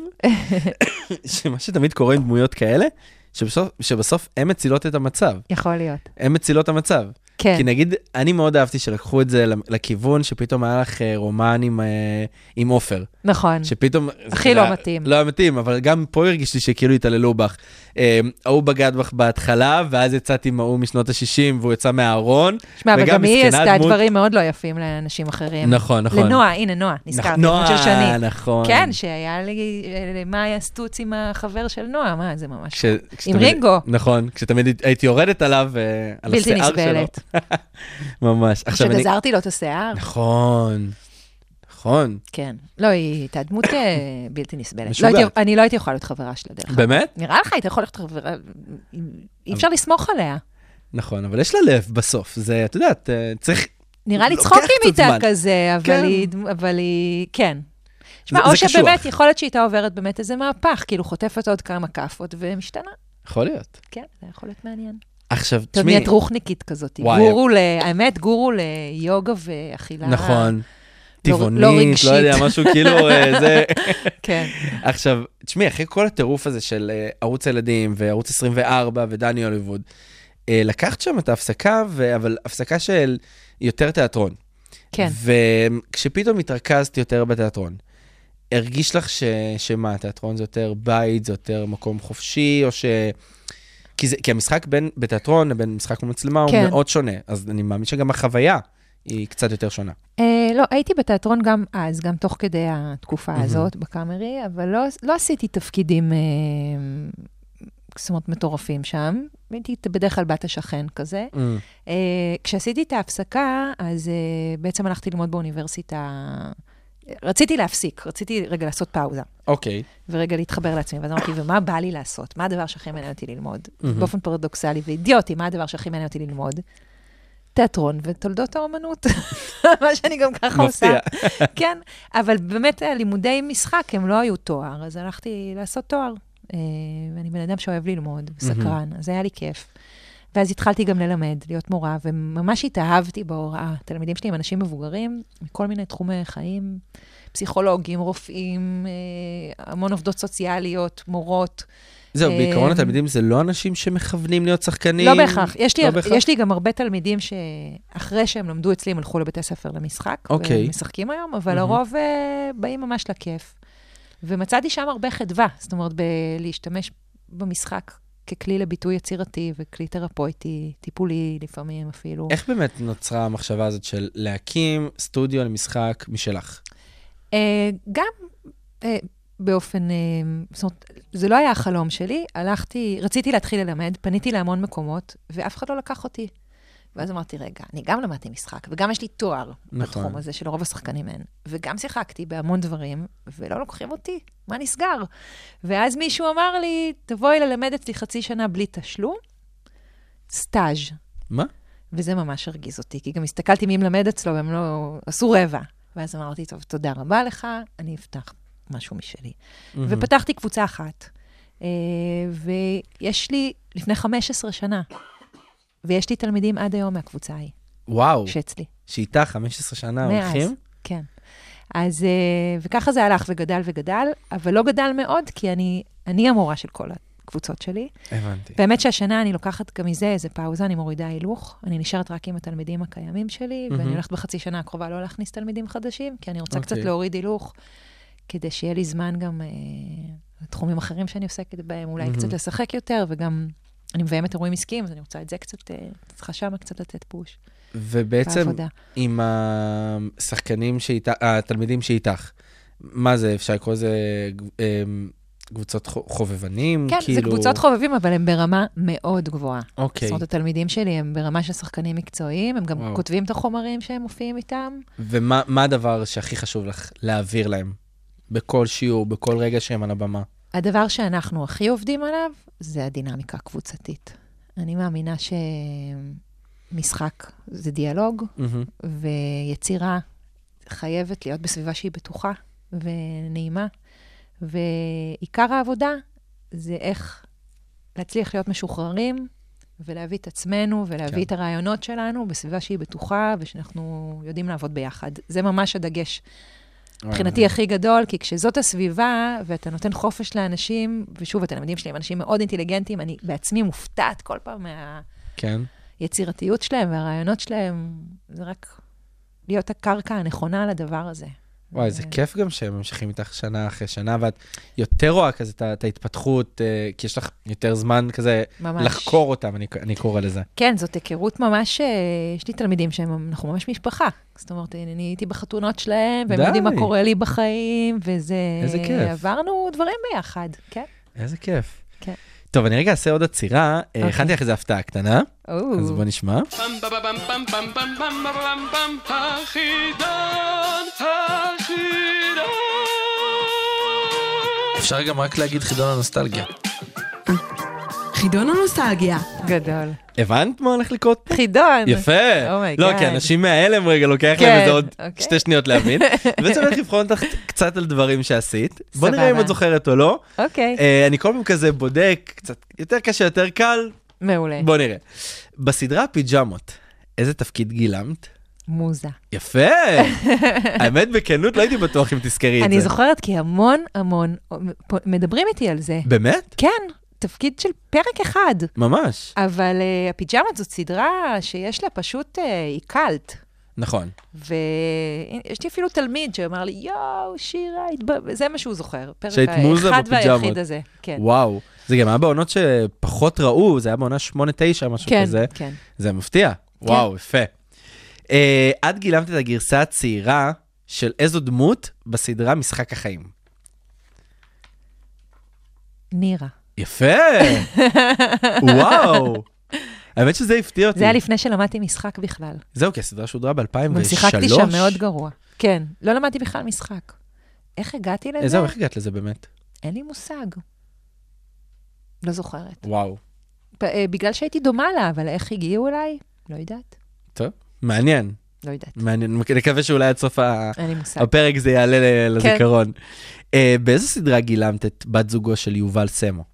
Speaker 4: שמה שתמיד קורה עם דמויות כאלה, שבסוף, שבסוף הן מצילות את המצב.
Speaker 5: יכול להיות.
Speaker 4: הן מצילות את המצב.
Speaker 5: כן.
Speaker 4: כי נגיד, אני מאוד אהבתי שלקחו את זה לכיוון שפתאום היה לך אה, רומן עם, אה, עם עופר.
Speaker 5: נכון.
Speaker 4: שפתאום...
Speaker 5: הכי
Speaker 4: זה
Speaker 5: לא
Speaker 4: היה-
Speaker 5: מתאים.
Speaker 4: לא היה מתאים, אבל גם פה הרגיש לי שכאילו התעללו בך. אה, ההוא בגד בך בהתחלה, ואז יצאת עם ההוא משנות ה-60, והוא יצא מהארון.
Speaker 5: שמע, אבל
Speaker 4: וגם
Speaker 5: גם היא
Speaker 4: מסכנה
Speaker 5: עשתה
Speaker 4: דמות-
Speaker 5: דברים מאוד לא יפים לאנשים אחרים.
Speaker 4: נכון, נכון.
Speaker 5: לנועה, הנה, נועה, נזכרתי,
Speaker 4: נועה,
Speaker 5: דמות של שני.
Speaker 4: נכון.
Speaker 5: כן, שהיה לי, אה, מה היה סטוץ עם החבר של נועה, מה, זה ממש...
Speaker 4: כש- כשתמיד-
Speaker 5: רינגו.
Speaker 4: נכון, כשתמיד הייתי יורדת עליו, אה, על
Speaker 5: בלתי
Speaker 4: השיער שלו.
Speaker 5: נסבלת.
Speaker 4: ממש. עכשיו אני...
Speaker 5: שגזרתי לו את השיער.
Speaker 4: נכון, נכון.
Speaker 5: כן. לא, היא הייתה דמות אה, בלתי נסבלת. לא
Speaker 4: משוגעת.
Speaker 5: הייתי- אני לא הייתי יכולה להיות חברה שלה, דרך אגב.
Speaker 4: באמת?
Speaker 5: נראה לך, היית יכול להיות חברה... אי אפשר לסמוך עליה.
Speaker 4: נכון, אבל יש לה לב בסוף. זה, את יודעת, אה, צריך...
Speaker 5: נראה לי
Speaker 4: לוקח
Speaker 5: צחוקים
Speaker 4: קצת
Speaker 5: איתה
Speaker 4: זמן.
Speaker 5: כזה, אבל
Speaker 4: כן.
Speaker 5: היא... אבל היא... כן. שמע,
Speaker 4: זה-
Speaker 5: או
Speaker 4: זה קשוח.
Speaker 5: שבאמת, יכול להיות שהיא הייתה עוברת באמת איזה מהפך, כאילו חוטפת עוד כמה כאפות ומשתנה.
Speaker 4: יכול להיות.
Speaker 5: כן, זה יכול להיות מעניין.
Speaker 4: עכשיו,
Speaker 5: טוב,
Speaker 4: תשמעי...
Speaker 5: נהיית רוחניקית כזאת.
Speaker 4: וואי.
Speaker 5: גורו ל... האמת, גורו ליוגה ואכילה.
Speaker 4: נכון. טבעונית,
Speaker 5: לא
Speaker 4: לא יודע,
Speaker 5: רגשית.
Speaker 4: משהו כאילו אה, זה.
Speaker 5: כן.
Speaker 4: עכשיו, תשמעי, אחרי כל הטירוף הזה של אה, ערוץ הילדים וערוץ 24 ודני הוליווד, אה, לקחת שם את ההפסקה, ו- אבל הפסקה של יותר תיאטרון.
Speaker 5: כן.
Speaker 4: וכשפתאום התרכזת יותר בתיאטרון, הרגיש לך ש... שמה, תיאטרון זה יותר בית, זה יותר מקום חופשי, או ש... כי, זה... כי המשחק בין בתיאטרון לבין משחק במצלמה
Speaker 5: כן.
Speaker 4: הוא מאוד שונה, אז אני מאמין שגם החוויה היא קצת יותר שונה.
Speaker 5: אה, לא, הייתי בתיאטרון גם אז, גם תוך כדי התקופה הזאת בקאמרי, אבל לא, לא עשיתי תפקידים, אה, זאת אומרת, מטורפים שם. הייתי בדרך כלל בת השכן כזה.
Speaker 4: Mm.
Speaker 5: אה, כשעשיתי את ההפסקה, אז אה, בעצם הלכתי ללמוד באוניברסיטה. רציתי להפסיק, רציתי רגע לעשות פאוזה.
Speaker 4: אוקיי,
Speaker 5: ורגע להתחבר לעצמי, ואז אמרתי, ומה בא לי לעשות? מה הדבר שהכי מעניין אותי ללמוד? באופן פרדוקסלי ואידיוטי, מה הדבר שהכי מעניין אותי ללמוד? תיאטרון ותולדות האומנות, מה שאני גם ככה עושה.
Speaker 4: מפתיע.
Speaker 5: כן, אבל באמת אה, לימודי משחק הם לא היו תואר, אז הלכתי לעשות תואר. אה, ואני בן אדם שאוהב ללמוד, סקרן, אז היה לי כיף. ואז התחלתי גם ללמד, להיות מורה, וממש התאהבתי בהוראה. תלמידים שלי הם אנשים מבוגרים, מכל מיני תחומי חיים, פסיכולוגים, רופאים, אה, המון עובדות סוציאליות, מורות.
Speaker 4: זהו,
Speaker 5: אה,
Speaker 4: בעיקרון התלמידים זה לא אנשים שמכוונים להיות שחקנים.
Speaker 5: לא בהכרח. יש לי,
Speaker 4: לא בהכרח?
Speaker 5: יש לי גם הרבה תלמידים שאחרי שהם למדו אצלי, הם הלכו לבתי ספר למשחק,
Speaker 4: אוקיי.
Speaker 5: והם משחקים היום, אבל לרוב אה, באים ממש לכיף. ומצאתי שם הרבה חדווה, זאת אומרת, בלהשתמש במשחק ככלי לביטוי יצירתי וכלי תרפויטי, טיפולי לפעמים אפילו.
Speaker 4: איך באמת נוצרה המחשבה הזאת של להקים סטודיו למשחק משלך?
Speaker 5: אה, גם אה, באופן, אה, זאת אומרת, זה לא היה החלום שלי, הלכתי, רציתי להתחיל ללמד, פניתי להמון מקומות, ואף אחד לא לקח אותי. ואז אמרתי, רגע, אני גם למדתי משחק, וגם יש לי תואר
Speaker 4: נכון.
Speaker 5: נכון. בתחום הזה, שלרוב השחקנים אין, וגם שיחקתי בהמון דברים, ולא לוקחים אותי, מה נסגר? ואז מישהו אמר לי, תבואי ללמד אצלי חצי שנה בלי תשלום, סטאז'.
Speaker 4: מה?
Speaker 5: וזה ממש הרגיז אותי, כי גם הסתכלתי מי מלמד אצלו, והם לא... עשו רבע. ואז אמרתי, טוב, תודה רבה לך, אני אפתח משהו משלי. Mm-hmm. ופתחתי קבוצה אחת, אה, ויש לי, לפני 15 שנה, ויש לי תלמידים עד היום מהקבוצה ההיא,
Speaker 4: וואו,
Speaker 5: שאצלי.
Speaker 4: שאיתה 15 שנה
Speaker 5: מאז,
Speaker 4: אה, הולכים?
Speaker 5: כן. אז, אה, וככה זה הלך וגדל וגדל, אבל לא גדל מאוד, כי אני, אני המורה של כל הקבוצות שלי.
Speaker 4: הבנתי.
Speaker 5: באמת שהשנה אני לוקחת גם מזה איזה פאוזה, אני מורידה הילוך, אני נשארת רק עם התלמידים הקיימים
Speaker 4: Mhm.
Speaker 5: שלי, ואני הולכת בחצי שנה הקרובה לא להכניס תלמידים חדשים, כי אני רוצה קצת
Speaker 4: אוקיי.
Speaker 5: להוריד הילוך, כדי שיהיה לי זמן גם אה, לתחומים אחרים שאני עוסקת בהם,
Speaker 4: Mhm.
Speaker 5: אולי קצת לשחק יותר, וגם אני מביימת אירועים עסקיים, אז אני רוצה את זה קצת, אה, צריכה שמה קצת לתת פוש.
Speaker 4: ובעצם
Speaker 5: בעבודה.
Speaker 4: עם השחקנים שאיתך, התלמידים שאיתך, מה זה, אפשר לקרוא לזה אמ, קבוצות חו- חובבנים?
Speaker 5: כן,
Speaker 4: כאילו...
Speaker 5: זה קבוצות חובבים, אבל הם ברמה מאוד גבוהה.
Speaker 4: אוקיי,
Speaker 5: זאת אומרת, התלמידים שלי הם ברמה של שחקנים מקצועיים, הם גם
Speaker 4: וואו.
Speaker 5: כותבים את החומרים שהם מופיעים איתם.
Speaker 4: ומה מה הדבר שהכי חשוב לך להעביר להם? בכל שיעור, בכל רגע שהם על הבמה.
Speaker 5: הדבר שאנחנו הכי עובדים עליו זה הדינמיקה הקבוצתית. אני מאמינה שמשחק זה דיאלוג,
Speaker 4: מהמם.
Speaker 5: ויצירה חייבת להיות בסביבה שהיא בטוחה ונעימה. ועיקר העבודה זה איך להצליח להיות משוחררים ולהביא את עצמנו ולהביא
Speaker 4: כן.
Speaker 5: כן. את הרעיונות שלנו בסביבה שהיא בטוחה ושאנחנו יודעים לעבוד ביחד. זה ממש הדגש
Speaker 4: אה,
Speaker 5: מבחינתי הכי גדול, כי כשזאת הסביבה, ואתה נותן חופש לאנשים, ושוב, התלמידים שלי הם אנשים מאוד אינטליגנטים, אני בעצמי מופתעת כל פעם
Speaker 4: כן.
Speaker 5: מהיצירתיות שלהם והרעיונות שלהם, זה רק להיות הקרקע הנכונה לדבר הזה.
Speaker 4: וואי,
Speaker 5: אה.
Speaker 4: זה כיף גם שהם ממשיכים איתך שנה אחרי שנה, ואת יותר רואה כזה את ה- את ההתפתחות, אה, כי יש לך יותר זמן כזה
Speaker 5: ממש.
Speaker 4: לחקור אותם, אני- אני קורא לזה.
Speaker 5: כן, זאת היכרות ממש, אה, יש לי תלמידים שהם, אנחנו ממש משפחה. זאת אומרת, אני אני הייתי בחתונות שלהם, והם
Speaker 4: די.
Speaker 5: יודעים מה קורה לי בחיים, וזה...
Speaker 4: איזה כיף.
Speaker 5: עברנו דברים ביחד, כן.
Speaker 4: איזה כיף.
Speaker 5: כן.
Speaker 4: טוב, אני רגע אעשה עוד עצירה. אה,
Speaker 5: אוקיי.
Speaker 4: הכנתי לך איזו הפתעה קטנה,
Speaker 5: או.
Speaker 4: אז בוא נשמע. אפשר גם רק להגיד חידון הנוסטלגיה.
Speaker 3: חידון הנוסטלגיה.
Speaker 5: גדול.
Speaker 4: הבנת מה הולך לקרות פה?
Speaker 5: חידון.
Speaker 4: יפה.
Speaker 5: אומייגאד.
Speaker 4: לא, כי אנשים מההלם רגע לוקח
Speaker 5: Oh כן,
Speaker 4: להם איזה עוד
Speaker 5: אוקיי.
Speaker 4: שתי שניות להבין. ובעצם הולך לבחון אותך קצת על דברים שעשית. בוא נראה
Speaker 5: סבבה.
Speaker 4: אם את זוכרת או לא.
Speaker 5: אוקיי,
Speaker 4: אה, אני כל פעם כזה בודק, קצת יותר קשה, יותר קל,
Speaker 5: מעולה.
Speaker 4: בוא נראה. בסדרה פיג'מות, איזה תפקיד גילמת?
Speaker 5: מוזה.
Speaker 4: יפה! האמת, בכנות לא הייתי בטוח אם תזכרי את זה.
Speaker 5: אני זוכרת כי המון המון פ- מדברים איתי על זה.
Speaker 4: באמת?
Speaker 5: כן, תפקיד של פרק אחד.
Speaker 4: ממש.
Speaker 5: אבל uh, הפיג'מות זאת סדרה שיש לה פשוט, uh, היא קאלט.
Speaker 4: נכון.
Speaker 5: ויש לי אפילו תלמיד שאמר לי, יואו, שירה, התב... זה מה שהוא זוכר. פרק
Speaker 4: שהיית מוזה
Speaker 5: האחד
Speaker 4: בפיג'מות.
Speaker 5: והיחיד הזה. כן.
Speaker 4: וואו. זה גם היה בעונות שפחות ראו, זה היה בעונה 8-9, משהו
Speaker 5: כן,
Speaker 4: כזה.
Speaker 5: כן.
Speaker 4: זה מפתיע. וואו, יפה. אה, את גילמת את הגרסה הצעירה של איזו דמות בסדרה משחק החיים.
Speaker 5: נירה.
Speaker 4: יפה! וואו! האמת שזה הפתיע אותי.
Speaker 5: זה היה לפני שלמדתי משחק בכלל.
Speaker 4: זהו, כי הסדרה שודרה ב-2003.
Speaker 5: גם שיחקתי שם מאוד גרוע. כן, לא למדתי בכלל משחק. איך הגעתי לזה?
Speaker 4: אה, זהו, איך הגעת לזה באמת?
Speaker 5: אין לי מושג. לא זוכרת.
Speaker 4: וואו.
Speaker 5: פ- אה, בגלל שהייתי דומה לה, אבל איך הגיעו אליי? לא יודעת.
Speaker 4: טוב. מעניין,
Speaker 5: לא יודעת.
Speaker 4: מעניין. נקווה שאולי עד סוף ה-
Speaker 5: אין לי מושג.
Speaker 4: הפרק זה יעלה ל-
Speaker 5: כן.
Speaker 4: לזיכרון. אה, באיזו סדרה גילמת את בת זוגו של יובל סמו?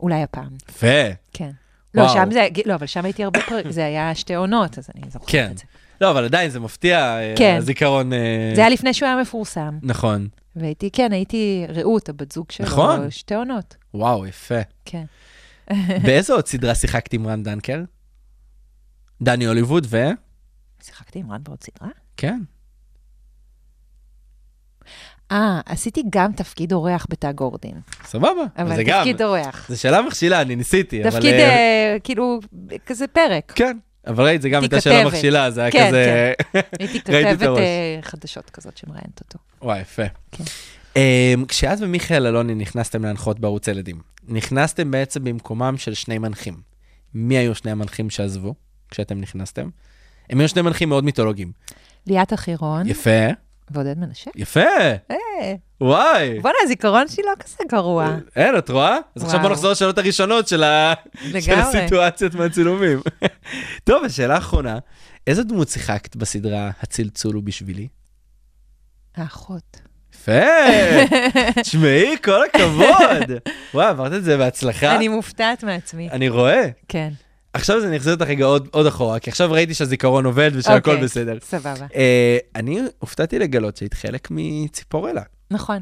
Speaker 5: אולי הפעם,
Speaker 4: יפה.
Speaker 5: כן. לא,
Speaker 4: וואו.
Speaker 5: שם זה, לא, אבל שם הייתי הרבה פרק, זה היה שתי עונות, אז אני זוכרת
Speaker 4: כן.
Speaker 5: את זה.
Speaker 4: לא, אבל עדיין זה מפתיע, אה,
Speaker 5: כן.
Speaker 4: הזיכרון... אה,
Speaker 5: זה היה לפני שהוא היה מפורסם,
Speaker 4: נכון.
Speaker 5: והייתי, כן, הייתי רעות, הבת זוג שלו,
Speaker 4: נכון.
Speaker 5: שתי עונות,
Speaker 4: וואו, יפה.
Speaker 5: כן.
Speaker 4: באיזו עוד סדרה שיחקת עם רן דנקר? דני הוליווד ו...
Speaker 5: שיחקתי עם רן בעוד סדרה?
Speaker 4: כן.
Speaker 5: אה, עשיתי גם תפקיד אורח בתא גורדין,
Speaker 4: סבבה.
Speaker 5: אבל
Speaker 4: זה גם...
Speaker 5: תפקיד אורח.
Speaker 4: זו שאלה מכשילה, אני ניסיתי, אבל...
Speaker 5: תפקיד,
Speaker 4: אה,
Speaker 5: אה, כאילו, כזה פרק.
Speaker 4: כן, אבל ראית, זה גם הייתה
Speaker 5: ככתבת.
Speaker 4: שאלה מכשילה, זה היה
Speaker 5: כן,
Speaker 4: כזה...
Speaker 5: הייתי
Speaker 4: ראיתי את
Speaker 5: כתבת
Speaker 4: הראש.
Speaker 5: אה, חדשות כזאת שמראיינת אותו.
Speaker 4: וואי, יפה.
Speaker 5: כן.
Speaker 4: אמ, כשאת ומיכאל אלוני נכנסתם להנחות בערוץ ילדים, נכנסתם בעצם במקומם של שני מנחים. מי היו שני המנחים שעזבו כשאתם נכנסתם? הם היו שני מנחים מאוד מיתולוגיים.
Speaker 5: ליאת אחירון
Speaker 4: יפה,
Speaker 5: ועודד מנשה.
Speaker 4: יפה,
Speaker 5: אה,
Speaker 4: וואי.
Speaker 5: בואנה, הזיכרון שלי לא כזה גרוע.
Speaker 4: אין, את רואה? אז עכשיו בוא
Speaker 5: וואו.
Speaker 4: נחזור לשאלות הראשונות של ה- של
Speaker 5: לגמרי.
Speaker 4: הסיטואציות מהצילומים. טוב, השאלה האחרונה, איזה דמות שיחקת בסדרה הצלצול הוא בשבילי?
Speaker 5: האחות.
Speaker 4: יפה, תשמעי, כל הכבוד. וואי, עברת את זה בהצלחה.
Speaker 5: אני מופתעת מעצמי.
Speaker 4: אני רואה.
Speaker 5: כן.
Speaker 4: עכשיו זה אני אחזיר אותך רגע עוד, עוד אחורה, כי עכשיו ראיתי שהזיכרון עובד ושהכול
Speaker 5: אוקיי,
Speaker 4: בסדר.
Speaker 5: סבבה.
Speaker 4: אה, אני הופתעתי לגלות שהיית חלק מציפורלה.
Speaker 5: נכון.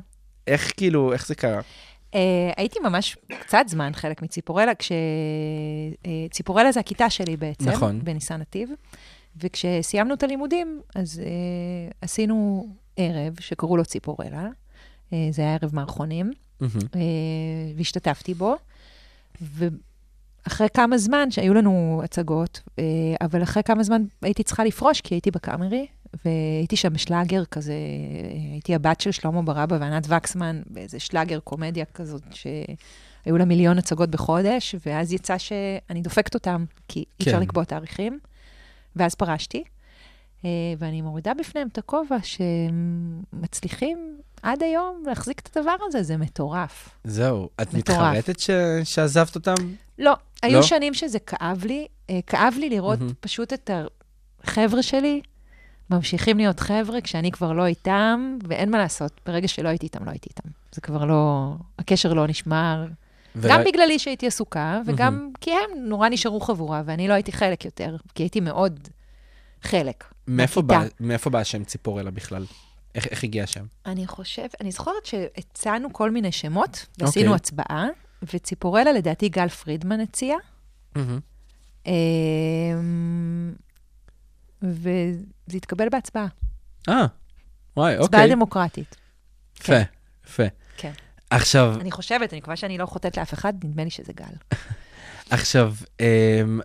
Speaker 4: איך כאילו, איך זה קרה?
Speaker 5: אה, הייתי ממש קצת זמן חלק מציפורלה, כשציפורלה זה הכיתה שלי בעצם,
Speaker 4: נכון.
Speaker 5: בניסן נתיב, וכשסיימנו את הלימודים, אז אה, עשינו ערב שקראו לו ציפורלה, אה, זה היה ערב מערכונים, אה, והשתתפתי בו, והפעם אחרי כמה זמן, שהיו לנו הצגות, אה, אבל אחרי כמה זמן הייתי צריכה לפרוש, כי הייתי בקאמרי, והייתי שם שלאגר כזה, אה, הייתי הבת של שלמה ברבא וענת וקסמן, באיזה שלאגר קומדיה כזאת, שהיו לה מיליון הצגות בחודש, ואז יצא שאני דופקת אותם, כי אי אפשר
Speaker 4: כן.
Speaker 5: לקבוע תאריכים, ואז פרשתי. אה, ואני מורידה בפניהם את הכובע שהם מצליחים עד היום להחזיק את הדבר הזה, זה מטורף.
Speaker 4: זהו. את
Speaker 5: מטורף.
Speaker 4: מתחרטת ש... שעזבת אותם?
Speaker 5: לא, היו
Speaker 4: לא?
Speaker 5: שנים שזה כאב לי. אה, כאב לי לראות
Speaker 4: מהמם.
Speaker 5: פשוט את החבר'ה שלי ממשיכים להיות חבר'ה כשאני כבר לא איתם, ואין מה לעשות, ברגע שלא הייתי איתם, לא הייתי איתם. זה כבר לא... הקשר לא נשמר.
Speaker 4: ורא-
Speaker 5: גם בגללי שהייתי עסוקה, וגם כי הם נורא נשארו חבורה, ואני לא הייתי חלק יותר, כי הייתי מאוד חלק.
Speaker 4: מאיפה בא,
Speaker 5: בכיתה.
Speaker 4: מאיפה בא השם ציפורלה בכלל? איך, איך הגיע השם?
Speaker 5: אני חושבת, אני זוכרת שהצענו כל מיני שמות, ועשינו
Speaker 4: אוקיי.
Speaker 5: הצבעה, וציפורלה, לדעתי, גל פרידמן הציע. אמ, וזה התקבל בהצבעה,
Speaker 4: אה, וואי,
Speaker 5: הצבעה
Speaker 4: אוקיי.
Speaker 5: דמוקרטית.
Speaker 4: יפה, יפה.
Speaker 5: כן.
Speaker 4: עכשיו,
Speaker 5: אני חושבת, אני מקווה שאני לא חוטאת לאף אחד, נדמה לי שזה גל.
Speaker 4: עכשיו, אמ,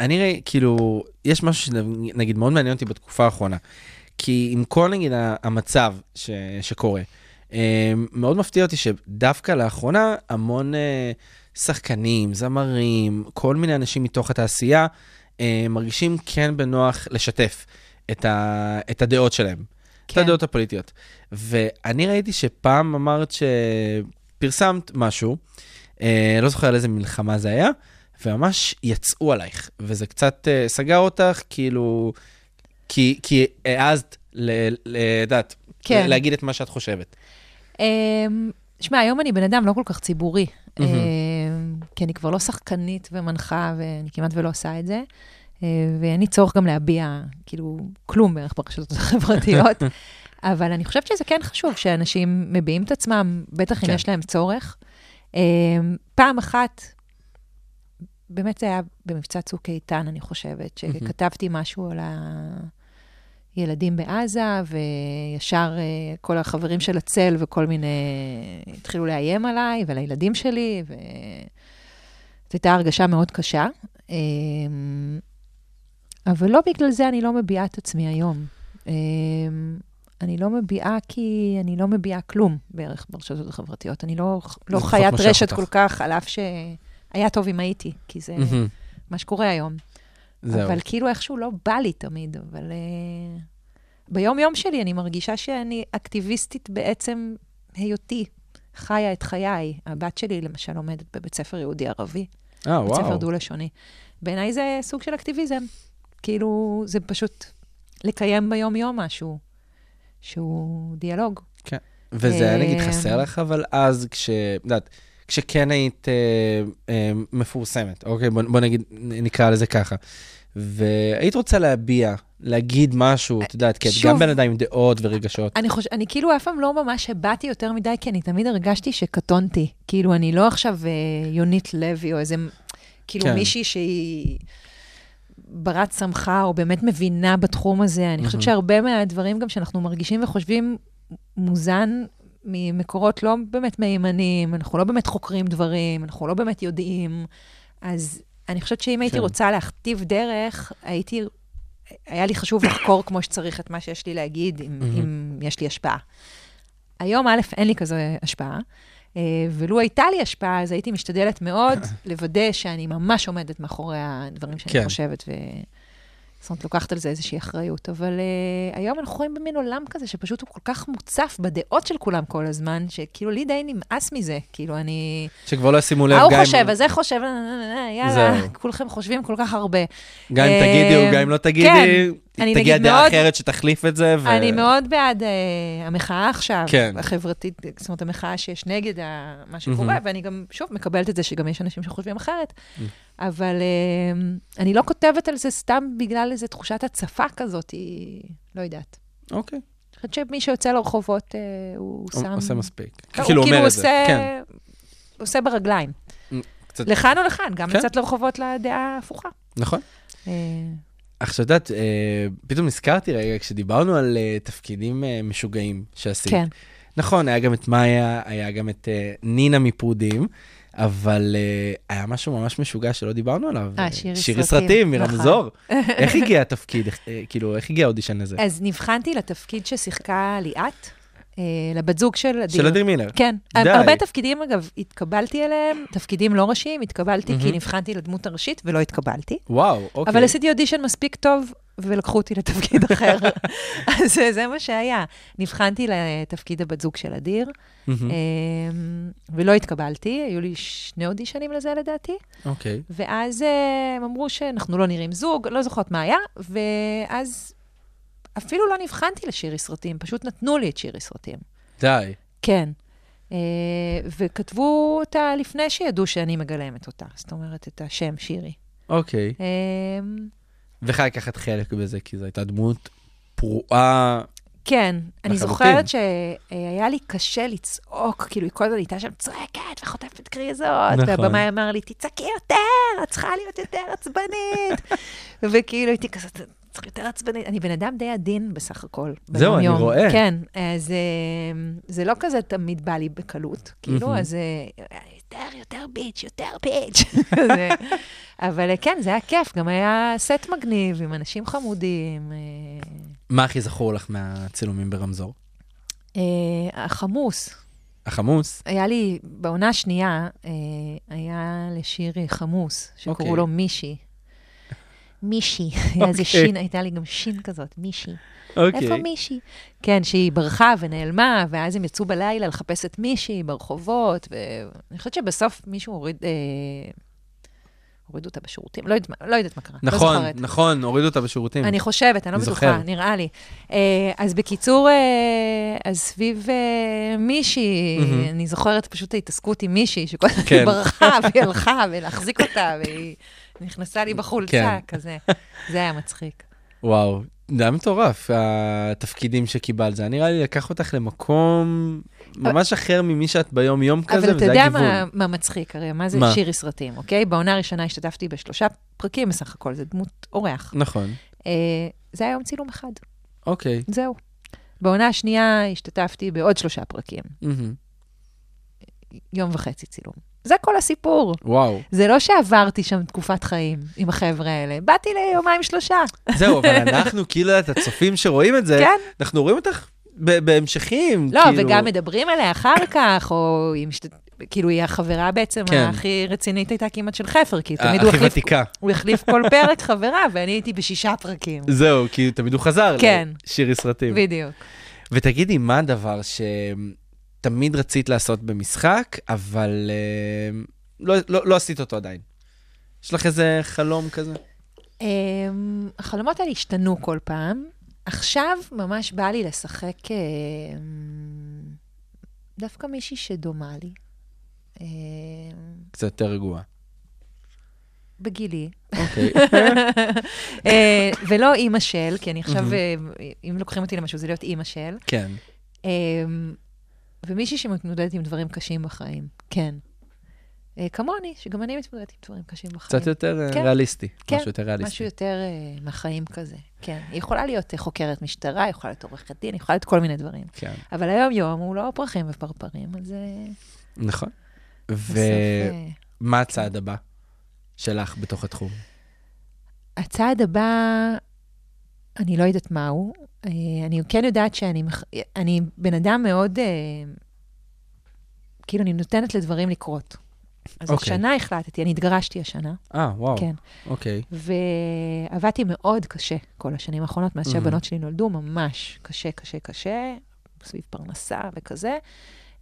Speaker 4: אני רואה, כאילו, יש משהו שנגיד מאוד מעניין אותי בתקופה האחרונה. כי עם כל, נגיד, ה- המצב ש, שקורה, אמ, מאוד מפתיע אותי שדווקא לאחרונה המון אה, שחקנים, זמרים, כל מיני אנשים מתוך התעשייה, אה, מרגישים כן בנוח לשתף את, ה, את הדעות שלהם. את
Speaker 5: כן.
Speaker 4: הדעות הפוליטיות. ואני ראיתי שפעם אמרת שפרסמת משהו, אה, לא זוכר על איזה מלחמה זה היה, וממש יצאו עלייך, וזה קצת אה, סגר אותך, כאילו, כי, כי העזת, ל- ל- לדעת,
Speaker 5: כן.
Speaker 4: ל- להגיד את מה שאת חושבת.
Speaker 5: אמ, שמע, היום אני בן אדם לא כל כך ציבורי, אמ, כי אני כבר לא שחקנית ומנחה, ואני כמעט ולא עושה את זה, אה, ואין לי צורך גם להביע, כאילו, כלום בערך ברשתות החברתיות, אבל אני חושבת שזה כן חשוב שאנשים מביעים את עצמם, בטח אם
Speaker 4: כן.
Speaker 5: יש להם צורך. אמ, פעם אחת, באמת זה היה במבצע צוק איתן, אני חושבת, שכתבתי משהו על ה... ילדים בעזה, וישר אה, כל החברים של הצל וכל מיני... התחילו לאיים עליי ועל הילדים שלי, ו... זו הייתה הרגשה מאוד קשה. אה, אבל לא בגלל זה אני לא מביעה את עצמי היום. אה, אני לא מביעה כי אני לא מביעה כלום בערך ברשתות החברתיות. אני לא, לא
Speaker 4: פחות
Speaker 5: חיית
Speaker 4: מושך
Speaker 5: רשת
Speaker 4: אותך.
Speaker 5: כל כך, על אף שהיה טוב אם הייתי, כי זה
Speaker 4: מהמם.
Speaker 5: מה שקורה היום.
Speaker 4: זהו.
Speaker 5: אבל כאילו איכשהו לא בא לי תמיד, אבל אה, ביום-יום שלי אני מרגישה שאני אקטיביסטית בעצם היותי חיה את חיי. הבת שלי למשל לומדת בבית ספר יהודי-ערבי,
Speaker 4: אה,
Speaker 5: בית ספר
Speaker 4: וואו.
Speaker 5: דו-לשוני. בעיניי זה סוג של אקטיביזם. כאילו, זה פשוט לקיים ביום-יום משהו שהוא דיאלוג.
Speaker 4: כן. וזה היה, נגיד,
Speaker 5: אה,
Speaker 4: חסר לך, אבל אז, כש... את יודעת, כשכן היית אה, אה, מפורסמת, אוקיי? בוא, בוא נגיד, נ- נקרא לזה ככה. והיית רוצה להביע, להגיד משהו, את יודעת, כי את
Speaker 5: אה, שוב.
Speaker 4: גם בן אדם עם דעות ורגשות.
Speaker 5: אני חוש... אני כאילו אף פעם לא ממש הבעתי יותר מדי, כי אני תמיד הרגשתי שקטונתי. כאילו, אני לא עכשיו אה, יונית לוי או איזה, מ- כאילו
Speaker 4: כן.
Speaker 5: כן. מישהי שהיא ברת סמכה או באמת מבינה בתחום הזה. אני חושבת שהרבה מהדברים גם שאנחנו מרגישים וחושבים מוזן ממקורות לא באמת מהימנים, אנחנו לא באמת חוקרים דברים, אנחנו לא באמת יודעים. אז אני חושבת שאם הייתי
Speaker 4: כן.
Speaker 5: רוצה להכתיב דרך, הייתי היה לי חשוב לחקור כמו שצריך את מה שיש לי להגיד, אם, אם יש לי השפעה. היום, א', אין לי כזו השפעה, אה, ולו הייתה לי השפעה, אז הייתי משתדלת מאוד לוודא שאני ממש עומדת מאחורי הדברים שאני
Speaker 4: כן.
Speaker 5: כן. חושבת, ו... זאת אומרת, לוקחת על זה איזושהי אחריות. אבל uh, היום אנחנו חיים במין עולם כזה שפשוט הוא כל כך מוצף בדעות של כולם כל הזמן, שכאילו לי די נמאס מזה. כאילו, אני...
Speaker 4: שכבר לא ישימו לב,
Speaker 5: ההוא
Speaker 4: גם אם-
Speaker 5: חושב, הזה חושב, אה, אה, אה, יאללה,
Speaker 4: זהו.
Speaker 5: כולכם חושבים כל כך הרבה.
Speaker 4: גם אם תגידי או
Speaker 5: אה,
Speaker 4: גם אם לא
Speaker 5: כן.
Speaker 4: תגידי,
Speaker 5: אני
Speaker 4: תגיע
Speaker 5: נגיד
Speaker 4: דעה
Speaker 5: מאוד-
Speaker 4: אחרת שתחליף את זה. ו-
Speaker 5: אני מאוד בעד אה, המחאה עכשיו,
Speaker 4: כן.
Speaker 5: החברתית, זאת אומרת, המחאה שיש נגד ה, מה שקורה, ואני גם, שוב, מקבלת את זה שגם יש אנשים שחושבים אחרת,
Speaker 4: Mm.
Speaker 5: אבל אה, אני לא כותבת על זה סתם בגלל איזו תחושת הצפה כזאת, היא... לא יודעת.
Speaker 4: אוקיי.
Speaker 5: אני חושבת שמי שיוצא לרחובות, אה, הוא שם...
Speaker 4: עושה מספיק.
Speaker 5: לא,
Speaker 4: כאילו
Speaker 5: הוא
Speaker 4: אומר את זה.
Speaker 5: עושה...
Speaker 4: כן.
Speaker 5: עושה ברגליים.
Speaker 4: קצת-
Speaker 5: לכאן או לכאן, גם
Speaker 4: כן.
Speaker 5: לצאת לרחובות לדעה ההפוכה.
Speaker 4: נכון.
Speaker 5: אה,
Speaker 4: עכשיו, את יודעת, אה, פתאום נזכרתי רגע, כשדיברנו על אה, תפקידים אה, משוגעים שעשית.
Speaker 5: כן.
Speaker 4: נכון, היה גם את מאיה, היה גם את אה, נינה מפרודים, אבל אה, היה משהו ממש משוגע שלא דיברנו עליו.
Speaker 5: אה, שירי
Speaker 4: שירי
Speaker 5: סרטים,
Speaker 4: סרטים
Speaker 5: נכון.
Speaker 4: מרמזור. איך הגיע התפקיד? איך- אה, כאילו, איך הגיע האודישן לזה?
Speaker 5: אז נבחנתי לתפקיד ששיחקה ליאת, אה, לבת זוג של אדיר.
Speaker 4: של אדיר מילר.
Speaker 5: כן.
Speaker 4: די.
Speaker 5: הרבה תפקידים, אגב, התקבלתי אליהם, תפקידים לא ראשיים, התקבלתי כי נבחנתי לדמות הראשית ולא התקבלתי.
Speaker 4: וואו, אוקיי.
Speaker 5: אבל עשיתי אודישן מספיק טוב, ולקחו אותי לתפקיד אחר. אז זה- זה מה שהיה. נבחנתי לתפקיד הבת זוג של אדיר,
Speaker 4: מהמם.
Speaker 5: אמ, ולא התקבלתי, היו לי שני אודישנים לזה לדעתי,
Speaker 4: אוקיי.
Speaker 5: ואז אה, הם אמרו שאנחנו לא נראים זוג, לא זוכרת מה היה, ואז אפילו לא נבחנתי לשירי סרטים, פשוט נתנו לי את שירי סרטים.
Speaker 4: די.
Speaker 5: כן. אה, וכתבו אותה לפני שידעו שאני מגלמת אותה, זאת אומרת, את השם שירי.
Speaker 4: אוקיי.
Speaker 5: אמ,
Speaker 4: וחי לקחת חלק בזה, כי זו הייתה דמות פרועה.
Speaker 5: כן, אני
Speaker 4: לחלוטין.
Speaker 5: זוכרת שהיה לי קשה לצעוק, כאילו, היא כל הזמן הייתה שם צועקת וחוטפת גריזות,
Speaker 4: נכון.
Speaker 5: והבמאי אמר לי, תצעקי יותר, את צריכה להיות יותר עצבנית. וכאילו, הייתי כזאת, צריך יותר עצבנית. אני בן אדם די עדין בסך הכל.
Speaker 4: זהו, אני
Speaker 5: ביום-יום.
Speaker 4: רואה.
Speaker 5: כן, אז אה, זה לא כזה תמיד בא לי בקלות, כאילו,
Speaker 4: מהמם.
Speaker 5: אז אה, יותר, יותר ביץ', יותר ביץ'. כזה. אבל אה, כן, זה היה כיף, גם היה סט מגניב עם אנשים חמודים. אה,
Speaker 4: מה הכי זכור לך מהצילומים ברמזור?
Speaker 5: אה, החמוס,
Speaker 4: החמוס?
Speaker 5: היה לי, בעונה השנייה, אה, היה לשיר אה, חמוס, שקראו
Speaker 4: אוקיי.
Speaker 5: לו מישי. מישי, היה איזה
Speaker 4: אוקיי.
Speaker 5: שין, הייתה לי גם שין כזאת, מישי.
Speaker 4: אוקיי.
Speaker 5: איפה מישהי? כן, שהיא ברחה ונעלמה, ואז הם יצאו בלילה לחפש את מישהי ברחובות, ואני חושבת שבסוף מישהו הוריד, אה, הוריד אותה בשירותים, לא יודעת, מה- לא יודעת מה קרה,
Speaker 4: נכון,
Speaker 5: לא זוכרת.
Speaker 4: נכון, הורידו אותה בשירותים.
Speaker 5: אני חושבת, אני לא
Speaker 4: אני
Speaker 5: בטוחה,
Speaker 4: זוכר.
Speaker 5: נראה לי. אה, אז בקיצור, אה, אז סביב אה, מישהי,
Speaker 4: מהמם.
Speaker 5: אני זוכרת פשוט ההתעסקות עם מישהי, שכל הזמן
Speaker 4: כן.
Speaker 5: היא ברחה והיא הלכה, ולהחזיק אותה, והיא נכנסה לי בחולצה,
Speaker 4: כן.
Speaker 5: כזה. זה היה מצחיק.
Speaker 4: וואו, זה היה מטורף, התפקידים שקיבלת. זה היה נראה לי לקח אותך למקום ממש אחר ממי שאת ביום-יום כזה,
Speaker 5: אבל אתה
Speaker 4: וזה
Speaker 5: יודע
Speaker 4: היה גיוון.
Speaker 5: מה- מה מצחיק, הרי מה זה
Speaker 4: מה?
Speaker 5: שירי סרטים, אוקיי? בעונה הראשונה השתתפתי בשלושה פרקים בסך הכל, זה דמות אורח.
Speaker 4: נכון,
Speaker 5: אה, זה היה יום צילום אחד,
Speaker 4: אוקיי.
Speaker 5: זהו. בעונה השנייה השתתפתי בעוד שלושה פרקים,
Speaker 4: מהמם.
Speaker 5: יום וחצי צילום. זה כל הסיפור.
Speaker 4: וואו.
Speaker 5: זה לא שעברתי שם תקופת חיים עם החבר'ה האלה, באתי ליומיים שלושה.
Speaker 4: זהו, אבל אנחנו, כאילו, את הצופים שרואים את זה,
Speaker 5: כן.
Speaker 4: אנחנו רואים אותך ב- בהמשכים.
Speaker 5: לא,
Speaker 4: כאילו,
Speaker 5: וגם מדברים עליה אחר כך, או אם שת... כאילו היא החברה בעצם
Speaker 4: כן. אה,
Speaker 5: הכי רצינית הייתה כמעט של חפר, כי תמיד הוא
Speaker 4: הכי
Speaker 5: החליף,
Speaker 4: ותיקה.
Speaker 5: הוא החליף כל פרק חברה, ואני הייתי בשישה פרקים.
Speaker 4: זהו, כי תמיד הוא חזר
Speaker 5: כן.
Speaker 4: לשירי סרטים.
Speaker 5: בדיוק.
Speaker 4: ותגידי, מה הדבר שתמיד רצית לעשות במשחק, אבל אה, לא, לא, לא עשית אותו עדיין? יש לך איזה חלום כזה?
Speaker 5: אמ, החלומות האלה השתנו כל פעם. עכשיו ממש בא לי לשחק אמ, דווקא מישהי שדומה לי. אמ,
Speaker 4: קצת יותר רגוע.
Speaker 5: בגילי.
Speaker 4: אוקיי.
Speaker 5: אה, ולא אימא של, כי אני עכשיו, אה, אם לוקחים אותי למשהו, זה להיות אימא של.
Speaker 4: כן.
Speaker 5: אמ, ומישהי שמתמודדת עם דברים קשים בחיים, כן. אה, כמוני, שגם אני מתמודדת עם דברים קשים בחיים.
Speaker 4: קצת יותר אה,
Speaker 5: כן.
Speaker 4: ריאליסטי.
Speaker 5: כן,
Speaker 4: משהו יותר ריאליסטי.
Speaker 5: משהו יותר אה, מהחיים כזה, כן. היא יכולה להיות אה, חוקרת משטרה, יכולה להיות עורכת דין, יכולה להיות כל מיני דברים.
Speaker 4: כן,
Speaker 5: אבל היום-יום הוא לא פרחים ופרפרים, אז אה,
Speaker 4: נכון.
Speaker 5: בסוף...
Speaker 4: ומה
Speaker 5: אה,
Speaker 4: הצעד הבא שלך בתוך התחום?
Speaker 5: הצעד הבא, אני לא יודעת מהו. אה, אני כן יודעת שאני מח... אני בן אדם מאוד, אה, כאילו, אני נותנת לדברים לקרות. אז
Speaker 4: אוקיי.
Speaker 5: השנה החלטתי, אני התגרשתי השנה,
Speaker 4: אה, וואו.
Speaker 5: כן,
Speaker 4: אוקיי.
Speaker 5: ועבדתי מאוד קשה כל השנים האחרונות, מאז
Speaker 4: Mhm.
Speaker 5: שהבנות שלי נולדו, ממש קשה, קשה, קשה, סביב פרנסה וכזה.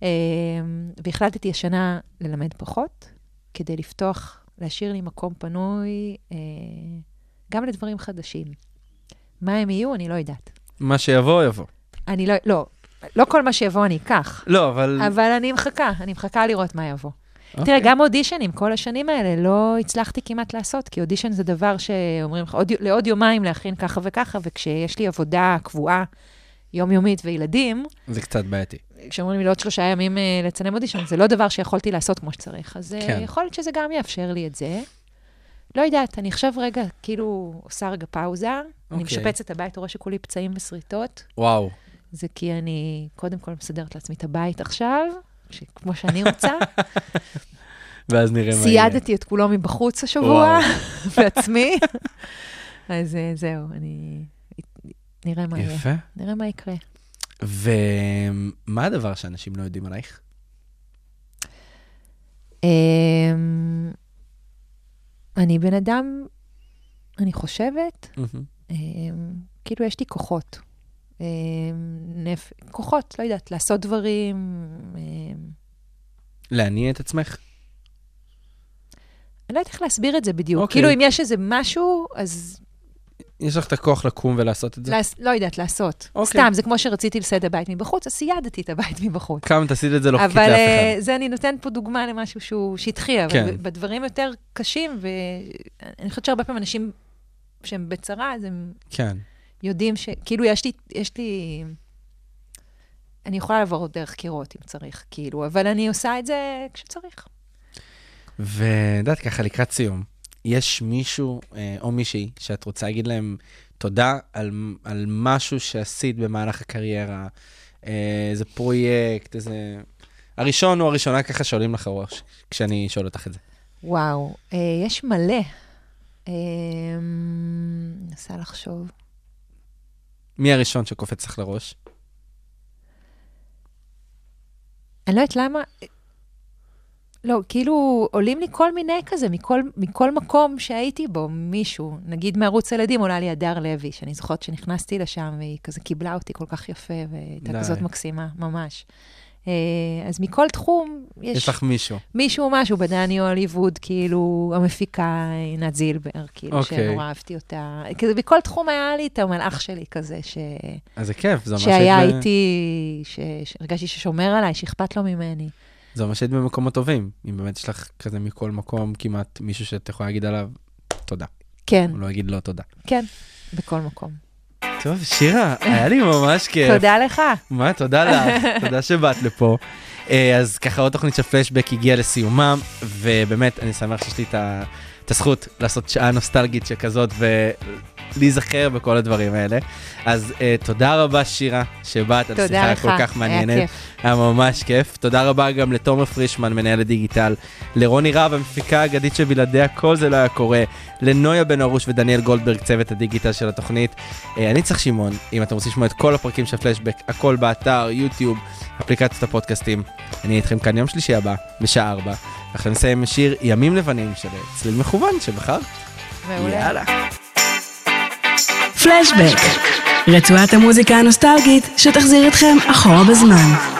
Speaker 5: אה, והחלטתי השנה ללמד פחות, כדי לפתוח, להשאיר לי מקום פנוי אה, גם לדברים חדשים. מה הם יהיו, אני לא יודעת.
Speaker 4: מה שיבוא, יבוא.
Speaker 5: אני לא, לא, לא כל מה שיבוא אני אקח,
Speaker 4: לא, אבל...
Speaker 5: אבל אני מחכה, אני מחכה לראות מה יבוא.
Speaker 4: אוקיי.
Speaker 5: תראה, גם אודישנים, כל השנים האלה לא הצלחתי כמעט לעשות, כי אודישן זה דבר שאומרים לך, "עוד- לעוד יומיים להכין ככה וככה, וכשיש לי עבודה קבועה יומיומית וילדים,
Speaker 4: זה קצת בעייתי.
Speaker 5: כשאומרים לי לעוד שלושה ימים אה, לצלם אודישן, זה לא דבר שיכולתי לעשות כמו שצריך. אז כן.
Speaker 4: כן.
Speaker 5: יכול להיות שזה גם יאפשר לי את זה. לא יודעת, אני עכשיו רגע, כאילו, עושה רגע פאוזה, אני
Speaker 4: אוקיי.
Speaker 5: משפצת את הבית, רואה שכולי פצעים ושריטות.
Speaker 4: וואו.
Speaker 5: זה כי אני קודם כל מסדרת לעצמי את הבית עכשיו, ש- כמו שאני רוצה,
Speaker 4: ואז נראה מה יהיה.
Speaker 5: ציידתי את כולו מבחוץ השבוע, בעצמי. אז אה, זהו, אני... נראה מה יהיה.
Speaker 4: יפה.
Speaker 5: נראה מה יקרה.
Speaker 4: ומה הדבר שאנשים לא יודעים עלייך?
Speaker 5: אמ, אני בן אדם, אני חושבת, אמ, כאילו יש לי כוחות. אמ, נפ... כוחות, לא יודעת, לעשות דברים. אמ,
Speaker 4: להניע את עצמך?
Speaker 5: אני לא יודעת איך להסביר את זה בדיוק.
Speaker 4: אוקיי.
Speaker 5: כאילו, אם יש איזה משהו, אז
Speaker 4: יש לך את הכוח לקום ולעשות את זה?
Speaker 5: לעס... לא יודעת לעשות.
Speaker 4: אוקיי.
Speaker 5: סתם, זה כמו שרציתי לסייד הבית מבחוץ, אז סיידתי את הבית מבחוץ.
Speaker 4: כמה תעשי את זה לא חוקית לאף
Speaker 5: אבל אה,
Speaker 4: אחד.
Speaker 5: זה, אני נותנת פה דוגמה למשהו שהוא שטחי, אבל
Speaker 4: כן.
Speaker 5: ב- בדברים יותר קשים, ואני חושבת שהרבה פעמים אנשים שהם בצרה, אז הם
Speaker 4: כן.
Speaker 5: יודעים ש... כאילו, יש לי... יש לי... אני יכולה לעבור דרך קירות אם צריך, כאילו, אבל אני עושה את זה כשצריך.
Speaker 4: ואת יודעת, ככה לקראת סיום, יש מישהו אה, או מישהי שאת רוצה להגיד להם תודה על, על משהו שעשית במהלך הקריירה, אה, איזה פרויקט, איזה... הראשון או הראשונה ככה שעולים לך ראש, כשאני שואל אותך את זה.
Speaker 5: וואו, אה, יש מלא. אה, מנסה לחשוב.
Speaker 4: מי הראשון שקופץ לך לראש?
Speaker 5: אני לא יודעת למה... לא, כאילו, עולים לי כל מיני כזה, מכל, מכל מקום שהייתי בו, מישהו, נגיד מערוץ הילדים, עולה לי הדר לוי, שאני זוכרת שנכנסתי לשם, והיא כזה קיבלה אותי כל כך יפה, והייתה
Speaker 4: די.
Speaker 5: כזאת מקסימה, ממש. אה, אז מכל תחום יש,
Speaker 4: יש לך מישהו.
Speaker 5: מישהו, משהו, בדני הוליווד, כאילו, המפיקה עינת זילבר, כאילו,
Speaker 4: אוקיי.
Speaker 5: שנורא אהבתי אותה. כזה, בכל תחום היה לי את המלאך שלי כזה, ש...
Speaker 4: אז זה כיף, זה ממש
Speaker 5: שהיה
Speaker 4: היית ב-
Speaker 5: איתי, ש... שהרגשתי ששומר עליי, שאכפת לו ממני.
Speaker 4: זה ממש היית במקומות טובים. אם באמת יש לך כזה מכל מקום כמעט מישהו שאת יכולה להגיד עליו תודה.
Speaker 5: כן,
Speaker 4: הוא לא יגיד לא תודה.
Speaker 5: כן, בכל מקום.
Speaker 4: טוב, שירה, היה לי ממש כיף.
Speaker 5: תודה לך.
Speaker 4: מה, תודה לך, תודה שבאת לפה. אה, אז ככה עוד תוכנית של פלשבק הגיעה לסיומה, ובאמת, אני שמח שיש לי את ה- את הזכות לעשות שעה נוסטלגית שכזאת ולהיזכר בכל הדברים האלה. אז אה, תודה רבה, שירה, שבאת, על
Speaker 5: תודה
Speaker 4: שיחה
Speaker 5: לך.
Speaker 4: כל כך מעניינת.
Speaker 5: היה כיף.
Speaker 4: היה ממש כיף. תודה רבה גם לתומר פרישמן, מנהל הדיגיטל, לרוני רהב, המפיקה האגדית שבלעדיה כל זה לא היה קורה, לנויה בן ארוש ודניאל גולדברג, צוות הדיגיטל של התוכנית. אה, אני צריך שמעון, אם אתם רוצים לשמוע את כל הפרקים של פלשבק, הכל באתר, יוטיוב, אפליקציות הפודקאסטים. אני אהיה איתכם כאן יום שלישי הבא, בשעה 4. עכשיו נסיים עם שיר ימים לבנים של אה, צליל מכוון שבחר.
Speaker 5: מעולה.
Speaker 4: יאללה.
Speaker 3: פלשבק, רצועת המוזיקה הנוסטלגית שתחזיר אתכם אחורה בזמן.